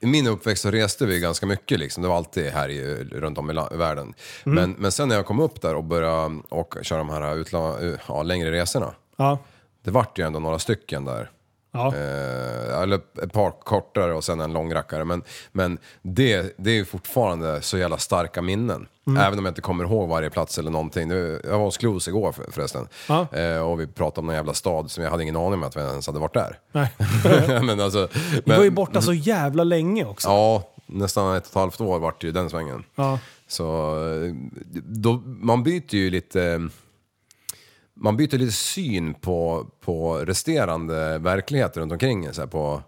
S7: I min uppväxt så reste vi ganska mycket, liksom. det var alltid här i, runt om i la- världen.
S6: Mm.
S7: Men, men sen när jag kom upp där och började och köra de här utla- ja, längre resorna,
S6: Ja.
S7: det vart ju ändå några stycken där.
S6: Ja.
S7: Eh, eller ett par kortare och sen en långrackare. Men, men det, det är ju fortfarande så jävla starka minnen.
S6: Mm.
S7: Även om jag inte kommer ihåg varje plats eller någonting. Det- Jag var hos Klos igår för- förresten.
S6: Ja.
S7: Eh, och vi pratade om någon jävla stad som jag hade ingen aning om att vi ens hade varit där.
S6: Nej.
S7: men alltså,
S6: Vi
S7: men,
S6: var ju borta så jävla länge också.
S7: Ja, nästan ett och ett halvt år vart det ju den svängen.
S6: Ja.
S7: Så eh, då, man byter ju lite... Man byter lite syn på, på resterande verklighet runt omkring en, så här på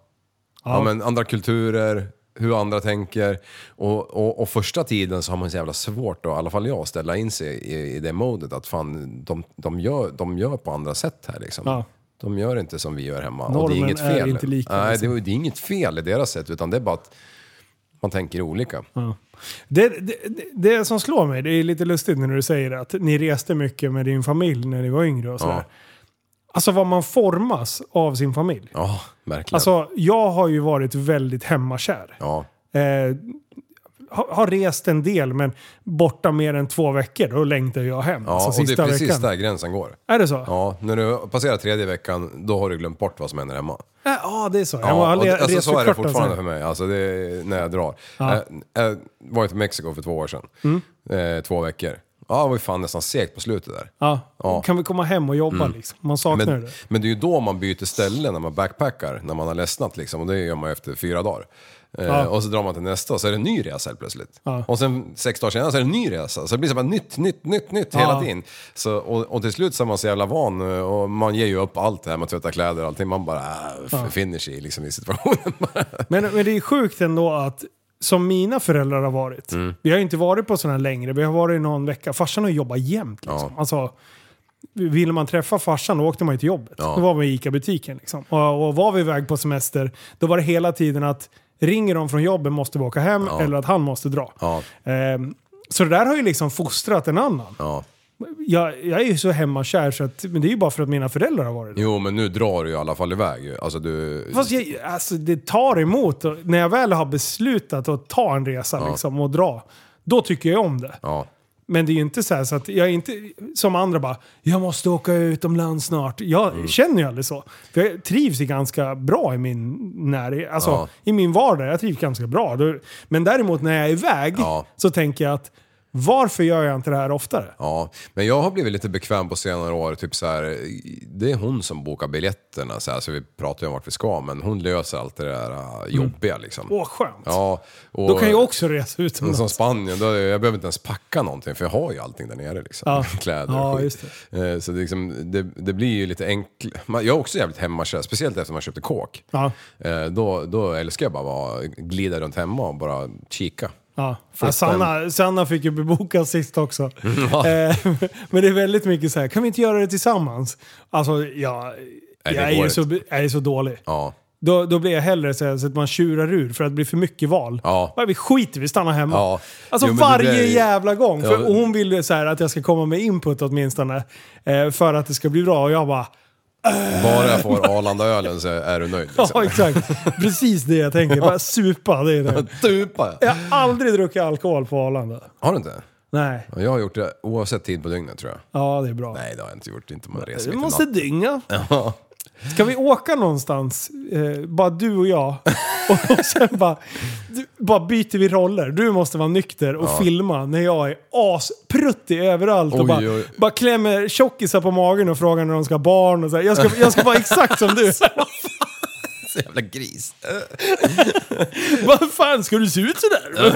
S7: ja. men andra kulturer, hur andra tänker. Och, och, och första tiden så har man så jävla svårt, då, i alla fall jag, att ställa in sig i, i det modet att fan, de, de, gör, de gör på andra sätt här liksom.
S6: Ja.
S7: De gör inte som vi gör hemma. och det
S6: Normen
S7: är inget
S6: är
S7: fel.
S6: inte lika,
S7: Nej,
S6: liksom.
S7: det, det är inget fel i deras sätt, utan det är bara att man tänker olika.
S6: Det, det, det- det som slår mig, det är lite lustigt när du säger att ni reste mycket med din familj när ni var yngre och sådär.
S7: Ja.
S6: Alltså vad man formas av sin familj.
S7: Ja, verkligen.
S6: Alltså jag har ju varit väldigt hemmakär.
S7: ja.
S6: Eh, har, har rest en del men borta mer än två veckor, då längtar jag hem.
S7: Ja,
S6: alltså,
S7: och det
S6: sista
S7: är precis
S6: veckan.
S7: där gränsen går.
S6: Är det så? Ja,
S7: Ja, när du passerar tredje veckan, då har du glömt bort vad som händer hemma.
S6: äh, ja, det är så.
S7: Ja,
S6: har
S7: och
S6: le-
S7: det, alltså,
S6: rest
S7: så är
S6: för
S7: det
S6: kort, alltså.
S7: fortfarande för mig, alltså, det, är när jag drar. Jag, jag var ju till Mexiko för två år sedan,
S6: Mm.
S7: eh, två veckor. Ja, det var ju fan nästan segt på slutet där.
S6: Ja.
S7: Ja. Mm.
S6: Kan vi komma hem och jobba liksom? Man saknar
S7: Men,
S6: det.
S7: men det är ju då man byter ställe när man backpackar, när man har ledsnat liksom. Och det gör man ju efter fyra dagar. Eh,
S6: Ja.
S7: Och så drar man till nästa och så är det en ny resa helt plötsligt.
S6: Ja.
S7: Och sen sex dagar senare så är det en ny resa. Så det blir så bara nytt, nytt, nytt, nytt
S6: Ja.
S7: hela tiden. Så, och, och till slut så är man så jävla van eh, och man ger ju upp allt det här med att tvätta kläder och allting. Man bara äh, finner sig i, liksom, i situationen.
S6: Men, men det är sjukt ändå att som mina föräldrar har varit.
S7: Mm.
S6: Vi har ju inte varit på sådana här längre. Vi har varit någon vecka. Farsan har jobbat jämt. Liksom.
S7: Ja.
S6: Alltså, ville man träffa farsan då åkte man ju till jobbet.
S7: Ja.
S6: Då var man i ICA-butiken. Liksom. Och, och var vi iväg på semester då var det hela tiden att ringer de från jobbet måste vi åka hem eller att han måste dra.
S7: ja,
S6: Ehm, så det där har ju liksom fostrat en annan.
S7: ja.
S6: Jag, jag är ju så hemmakär så att, men det är ju bara för att mina föräldrar har varit det.
S7: Jo, men nu drar du ju i alla fall iväg ju. Alltså du...
S6: Fast jag, alltså, det tar emot. Och När jag väl har beslutat att ta en resa liksom, och dra, då tycker jag om det.
S7: Ja.
S6: Men det är ju inte så, här, så att jag är inte som andra bara, jag måste åka utomlands snart. Jag
S7: Mm.
S6: känner ju aldrig så. För jag trivs ju ganska bra i min närhet, alltså
S7: Ja.
S6: i min vardag. Jag trivs ganska bra. Då- Men däremot när jag är iväg
S7: Ja.
S6: så tänker jag att varför gör jag inte det här oftare?
S7: Ja, men jag har blivit lite bekväm på senare år. Typ så här, det är hon som bokar biljetterna, så, här, så vi pratar ju om vart vi ska, men hon löser allt det där äh, jobbiga liksom.
S6: Mm. Åh, skönt.
S7: Ja, och,
S6: Då kan jag också resa utomlands.
S7: Som Spanien, då, jag behöver inte ens packa någonting för jag har ju allting där nere. Liksom.
S6: Ja.
S7: Kläder
S6: Ja,
S7: och skit.
S6: just
S7: Eh, Så det, liksom, det, det blir ju lite enkelt. Jag är också jävligt hemmakär, speciellt efter man köpte kåk.
S6: Ja.
S7: Eh, Då, då älskar jag bara att vara- glida runt hemma och bara kika.
S6: Ja,
S7: Flytta
S6: Sanna, Sanna fick ju beboka sist också. Eh, Men det är väldigt mycket så här, kan vi inte göra det tillsammans? Alltså, ja,
S7: det
S6: jag, är
S7: går
S6: ju så, jag är så dålig.
S7: Ja.
S6: Då, då blir jag hellre så, här, så att man tjurar ur för att det blir för mycket val.
S7: Ja.
S6: Vad är Vi skiter vi stannar hemma.
S7: Ja.
S6: Alltså
S7: Jo, men det
S6: varje
S7: där är-
S6: jävla gång. För,
S7: Ja.
S6: och hon ville så här att jag ska komma med input åtminstone. Eh, för att det ska bli bra. Och jag bara,
S7: Bara jag får Arlandaölen så är du nöjd. liksom.
S6: ja exakt. Precis det jag tänker. Bara supa, det är det.
S7: Stupa!
S6: Jag har aldrig druckit alkohol på Arlanda.
S7: Har du inte?
S6: Nej.
S7: Ja, Jag har gjort det oavsett tid på dygnet tror jag.
S6: Ja, det är bra.
S7: Nej, det har jag inte gjort. Inte om man reser
S6: Du
S7: mitt i
S6: måste
S7: natten.
S6: dynga. Ska vi åka någonstans, eh, bara du och jag, och sen bara, du, bara byter vi roller. Du måste vara nykter och filma när jag är aspruttig överallt och
S7: Oj,
S6: bara,
S7: oj.
S6: bara klämmer tjockisar på magen och frågar när de ska ha barn. Och så här. Jag, ska, jag ska vara exakt som du.
S7: Så jävla gris.
S6: Vad fan, ska du se ut sådär?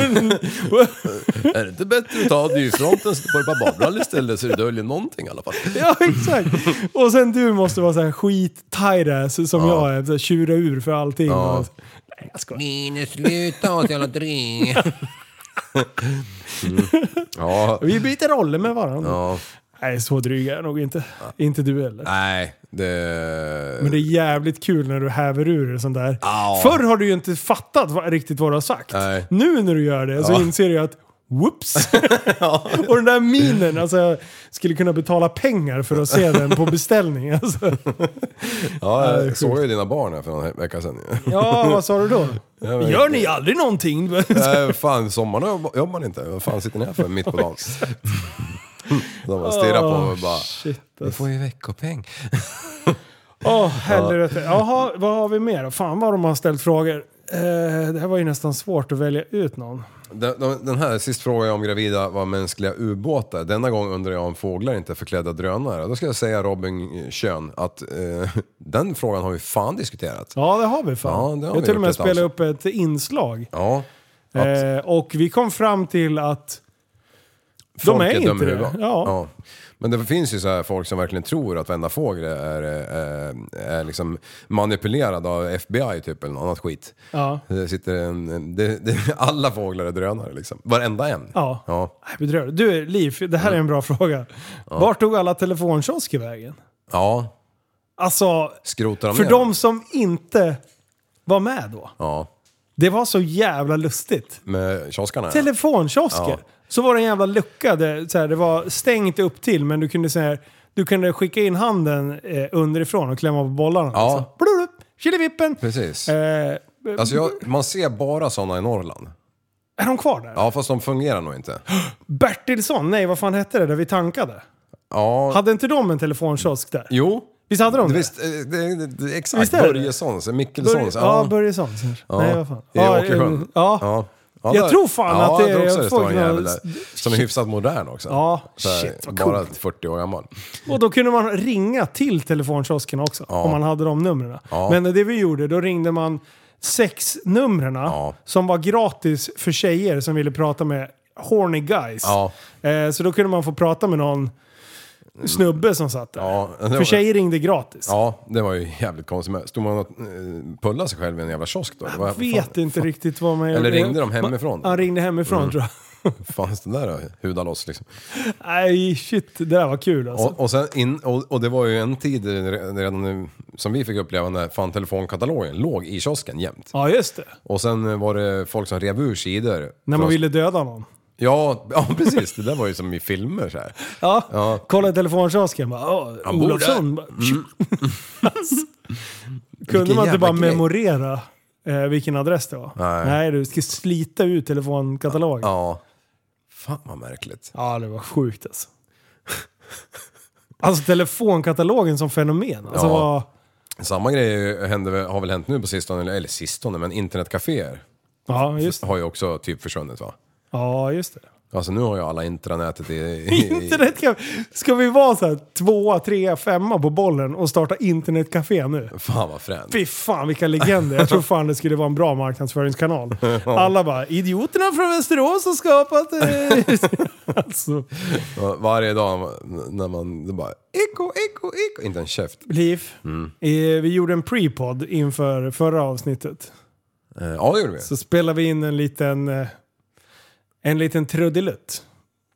S7: Är det inte bättre att ta dyfronten så på ett par badbrallor istället så du döljer någonting i alla fall?
S6: Ja, exakt. Och sen du måste vara så här skit tight ass som jag är. Så här, tjura ur för allting. Och, nej, jag skojar.
S7: Minus, sluta åt jävla dring. Ja,
S6: Vi byter roller med varandra.
S7: ja.
S6: Nej, så dryg är jag nog inte. Inte du heller.
S7: Nej,
S6: Men
S7: det...
S6: det är jävligt kul när du häver ur det sånt där.
S7: Ja.
S6: Förr har du ju inte fattat vad, riktigt vad du har sagt.
S7: Nej.
S6: Nu när du gör det så
S7: Ja.
S6: inser du att Whoops! Och den där minen, alltså jag skulle kunna betala pengar för att se den på beställning. Alltså.
S7: Ja,
S6: sjukt.
S7: jag såg ju dina barn här för någon vecka sedan.
S6: Ja, vad sa du då?
S7: vet
S6: Gör ni aldrig någonting?
S7: Nej, fan sommaren jobb- jobbar ni inte. Vad fan sitter ni här för mitt på dagen? De bara stirrar på mig och bara...
S6: Shit,
S7: Vi
S6: alltså.
S7: får ju veckopeng.
S6: Åh, helvete. Jaha, vad har vi mer då? Fan vad de har ställt frågor. Eh, det här var ju nästan svårt att välja ut någon.
S7: Den, den- den här, sist frågade jag om gravida var mänskliga ubåtar. Denna gång undrar jag om fåglar inte är förklädda drönare. Då ska jag säga Robin Kön att eh, den frågan har vi fan diskuterat.
S6: Ja, det har vi fan.
S7: Ja, det har
S6: jag
S7: vi
S6: till och
S7: gjort
S6: med
S7: ett
S6: spelade
S7: avsnitt.
S6: upp ett inslag.
S7: Ja, att
S6: Eh, och vi kom fram till att
S7: folk
S6: de är
S7: dumma
S6: inte
S7: i
S6: det.
S7: huvudet.
S6: Ja.
S7: Ja. Men det finns ju så här folk som verkligen tror att varenda fågel är, är, är liksom manipulerad av FBI typ eller något annat skit.
S6: Ja.
S7: Det sitter en, en- det, det, alla fåglar är drönare liksom. Varenda en.
S6: Ja.
S7: Ja.
S6: Nej, Bedrövligt. Du, Liv, det här är en bra fråga. Vart tog alla telefonkiosker vägen?
S7: ja.
S6: Alltså,
S7: Skrotar de
S6: för
S7: ner
S6: de som inte var med då.
S7: Ja.
S6: Det var så jävla lustigt.
S7: Med kioskarna. ja.
S6: telefonkiosker.
S7: Ja.
S6: Så var det en jävla lucka, där, så här, det var stängt upp till men du kunde, så här, du kunde skicka in handen eh, underifrån och klämma på bollarna.
S7: Ja.
S6: Alltså. Blurup, Killevippen!
S7: Precis.
S6: Eh,
S7: Alltså jag, man ser bara sådana i Norrland.
S6: är de kvar där?
S7: Ja, fast de fungerar nog inte.
S6: Bertilsson, nej vad fan hette det där vi tankade?
S7: Ja,
S6: Hade inte de en telefonkiosk där?
S7: jo.
S6: Visst hade de det?
S7: Visst, eh, det, det, det, exakt. eh,
S6: Visst är det det?
S7: Börjessons,
S6: Börje,
S7: Mickelsons.
S6: ja, Börjesson. så här. Nej, vad fan.
S7: I Åkersjön.
S6: eh, Ja. ja.
S7: Ja,
S6: Jag
S7: där-
S6: tror fan
S7: ja,
S6: att det
S7: jag tror också
S6: är
S7: det står
S6: folk
S7: en jävel
S6: med-
S7: där. Som är hyfsat modern också.
S6: Ja,
S7: Så här,
S6: shit, vad
S7: Bara
S6: coolt.
S7: 40 år gammal.
S6: Och då kunde man ringa till telefonkiosken också, om man hade de numren. Men det vi gjorde, då ringde man sex numren som var gratis för tjejer som ville prata med horny guys.
S7: Ja.
S6: Eh, så då kunde man få prata med någon snubbe som satt där.
S7: Ja, det var-
S6: För tjejer ringde gratis.
S7: Ja, det var ju jävligt konstigt. Men Stod man och eh, pullade sig själv i en jävla kiosk då? Det var-
S6: Jag vet
S7: fan,
S6: inte riktigt vad man
S7: Eller ringde de hemifrån? Mm.
S6: Han ringde hemifrån tror jag.
S7: Fanns den där och huda loss liksom.
S6: Nej, shit. Det där var kul alltså.
S7: Och, och, sen in, och, och det var ju en tid eh, redan nu, som vi fick uppleva när fan telefonkatalogen låg i kiosken jämt.
S6: Ja, just det.
S7: Och sen eh, var det folk som rev ur sidor.
S6: När man
S7: Från-
S6: ville döda någon.
S7: Ja, ja, precis. Det där var ju som i filmer så här.
S6: Ja,
S7: Ja.
S6: kolla i telefonkiosken. Bara, "Åh,
S7: Han bor Mm.
S6: Olofsson. Bara, Alltså, Kunde man inte
S7: jävla
S6: bara
S7: grej.
S6: memorera eh, vilken adress det var?
S7: Nej.
S6: du ska slita ut telefonkatalogen. Ja.
S7: Ja. Fan vad märkligt.
S6: det var sjukt alltså. Alltså telefonkatalogen som fenomen. Alltså,
S7: Ja.
S6: var,
S7: Samma grej hände, väl- har väl hänt nu på sistone, eller, eller sistone, men internetcaféer
S6: ja, just, det.
S7: har ju också typ försvunnit va?
S6: ja, just det.
S7: Alltså nu har ju alla intranätet i... i
S6: Internetcafé. Ska vi vara så här tvåa, trea, femma på bollen och starta internetcafé nu?
S7: Fan vad fränt.
S6: Fy fan vilka legender. Jag tror fan det skulle vara en bra marknadsföringskanal. Alla bara, idioterna från Västerås har skapat det. alltså,
S7: Ja, Varje dag när man... Det bara... Eko, eko, eko. Inte en käft.
S6: Liv,
S7: Mm.
S6: eh, vi gjorde en pre-podd inför förra avsnittet.
S7: Eh, Ja, det gjorde vi.
S6: Så spelade vi in en liten, eh, en liten trudelutt.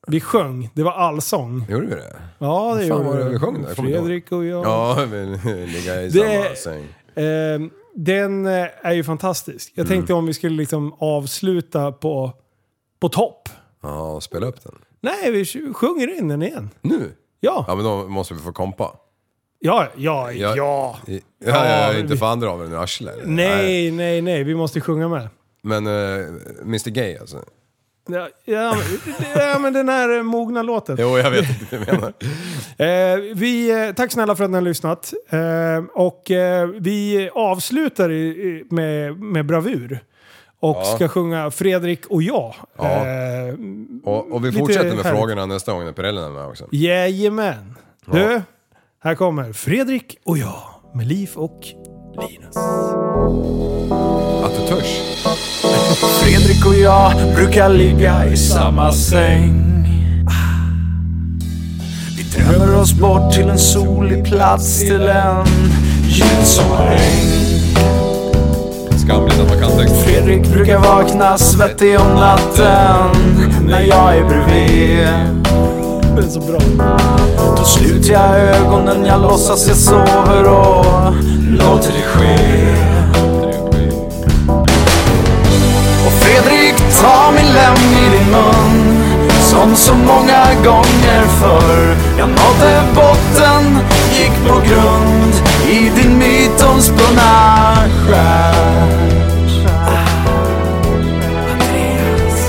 S6: Vi sjöng, det var allsång.
S7: Gjorde vi det?
S6: Ja, det
S7: Fan, vad
S6: gjorde
S7: var det vi sjöng där? Jag kommer inte ihåg.
S6: Fredrik och jag.
S7: Ja, vi ligger i
S6: Det-
S7: samma säng.
S6: Eh, den eh, är ju fantastisk. Jag tänkte om vi skulle liksom avsluta på, på topp.
S7: Ja, spela upp den.
S6: Nej, vi sj- sjunger in den igen.
S7: Nu?
S6: Ja,
S7: Ja, men då måste vi få kompa.
S6: ja, ja, ja.
S7: Jag- Ja, jag är
S6: men
S7: inte
S6: vi-
S7: för andra av den nu, arsle. eller?
S6: Nej, nej, nej, vi måste sjunga med.
S7: Men eh, Mr Gay alltså.
S6: Ja, ja, men- ja men den här eh, mogna låten.
S7: Jo, jag vet inte vad du menar.
S6: Eh, vi, eh, tack snälla för att ni har lyssnat. Eh, och eh, vi avslutar i, i, med, med bravur. Och ska sjunga Fredrik och jag.
S7: Ja.
S6: Eh,
S7: Och, och vi
S6: Lite
S7: fortsätter med
S6: härligt.
S7: frågorna nästa gång när Pirellen är med också.
S6: jajamän. Du, här kommer Fredrik och jag med Liv och Linus.
S7: Att du törs.
S4: Fredrik och jag brukar ligga i samma säng Vi drömmer oss bort till en solig plats, till en ljusomhäng
S7: Skamligt att man kan text.
S4: Fredrik brukar vakna svettig om natten när jag är bredvid
S6: Det är så bra.
S4: Då sluter jag ögonen, jag låtsas jag sover och låter det ske Och Fredrik, ta min läm i din mun Som så många gånger förr Jag nådde botten, gick på grund I din mytomspunna stjärt Andreas.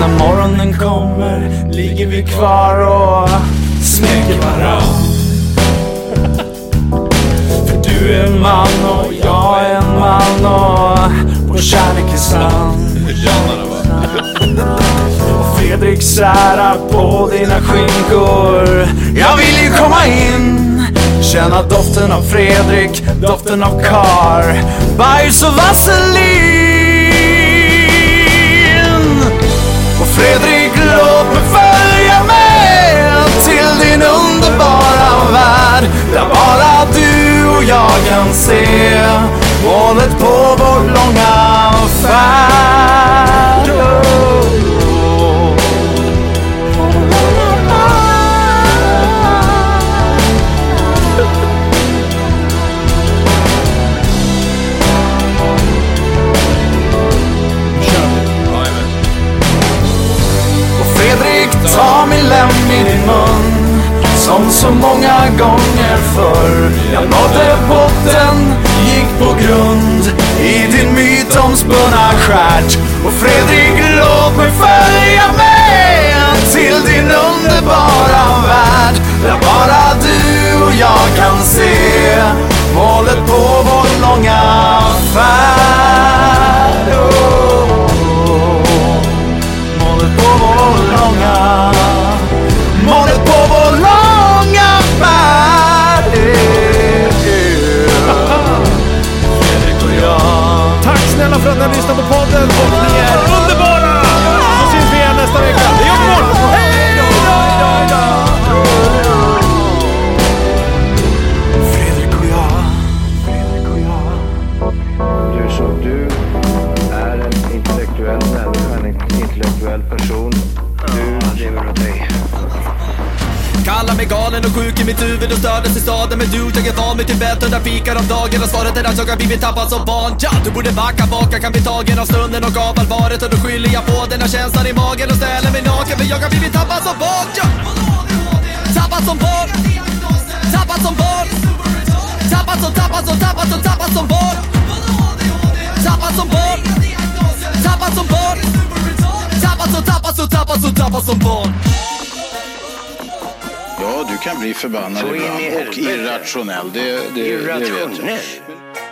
S4: När morgonen kommer ligger vi kvar och smeker varann
S8: en man och jag är en man och vår kärlek är sann. Och Fredrik särar på dina skinkor. Jag vill ju komma in, känna doften av Fredrik, doften av kar, bajs och vaselin. Och Fredrik låt mig följa med till din underbara värld där bara du och jag kan se målet på vår långa färd. Och Fredrik, ta min lem i din mun Som så många gånger förr Jag nådde botten, gick på grund I din mytomspunna stjärt Och Fredrik, låt mig följa med Till din underbara värld Där bara du och jag kan se Målet på vår långa färd oh. Målet på vår långa Målet på vår långa värld Fredrik och jag
S6: Tack snälla för att ni har lyssnat på podden och ni är underbara! Så syns vi igen nästa vecka. Det gör vi imorgon!
S8: Hej då, hej då, hej då. Fredrik och jag Fredrik och jag
S3: Du som du är en intellektuell människa, en intellektuell person. Du lever av dig.
S1: Kallar mig galen och sjuk i mitt huvud och stördes i staden Men du, jag är van vid Tibet under fikar om dagen Och svaret är att jag har blivit tappad som barn ja, Du borde backa baka, kan bli tagen av stunden och av allvaret Och då skyller jag på den här känslan i magen och ställer mig naken För jag har blivit tappad som barn ja. Tappad som barn Tappad som barn Tappad som, tappad som, tappad som, tappad som barn Tappad som barn Tappad som barn Tappad som, tappad som, tappad som, tappad som barn
S2: Ja, du kan bli förbannad
S3: Så in i
S2: ibland och
S3: helvete.
S2: irrationell. Det, det, det vet jag.
S3: Irrationell.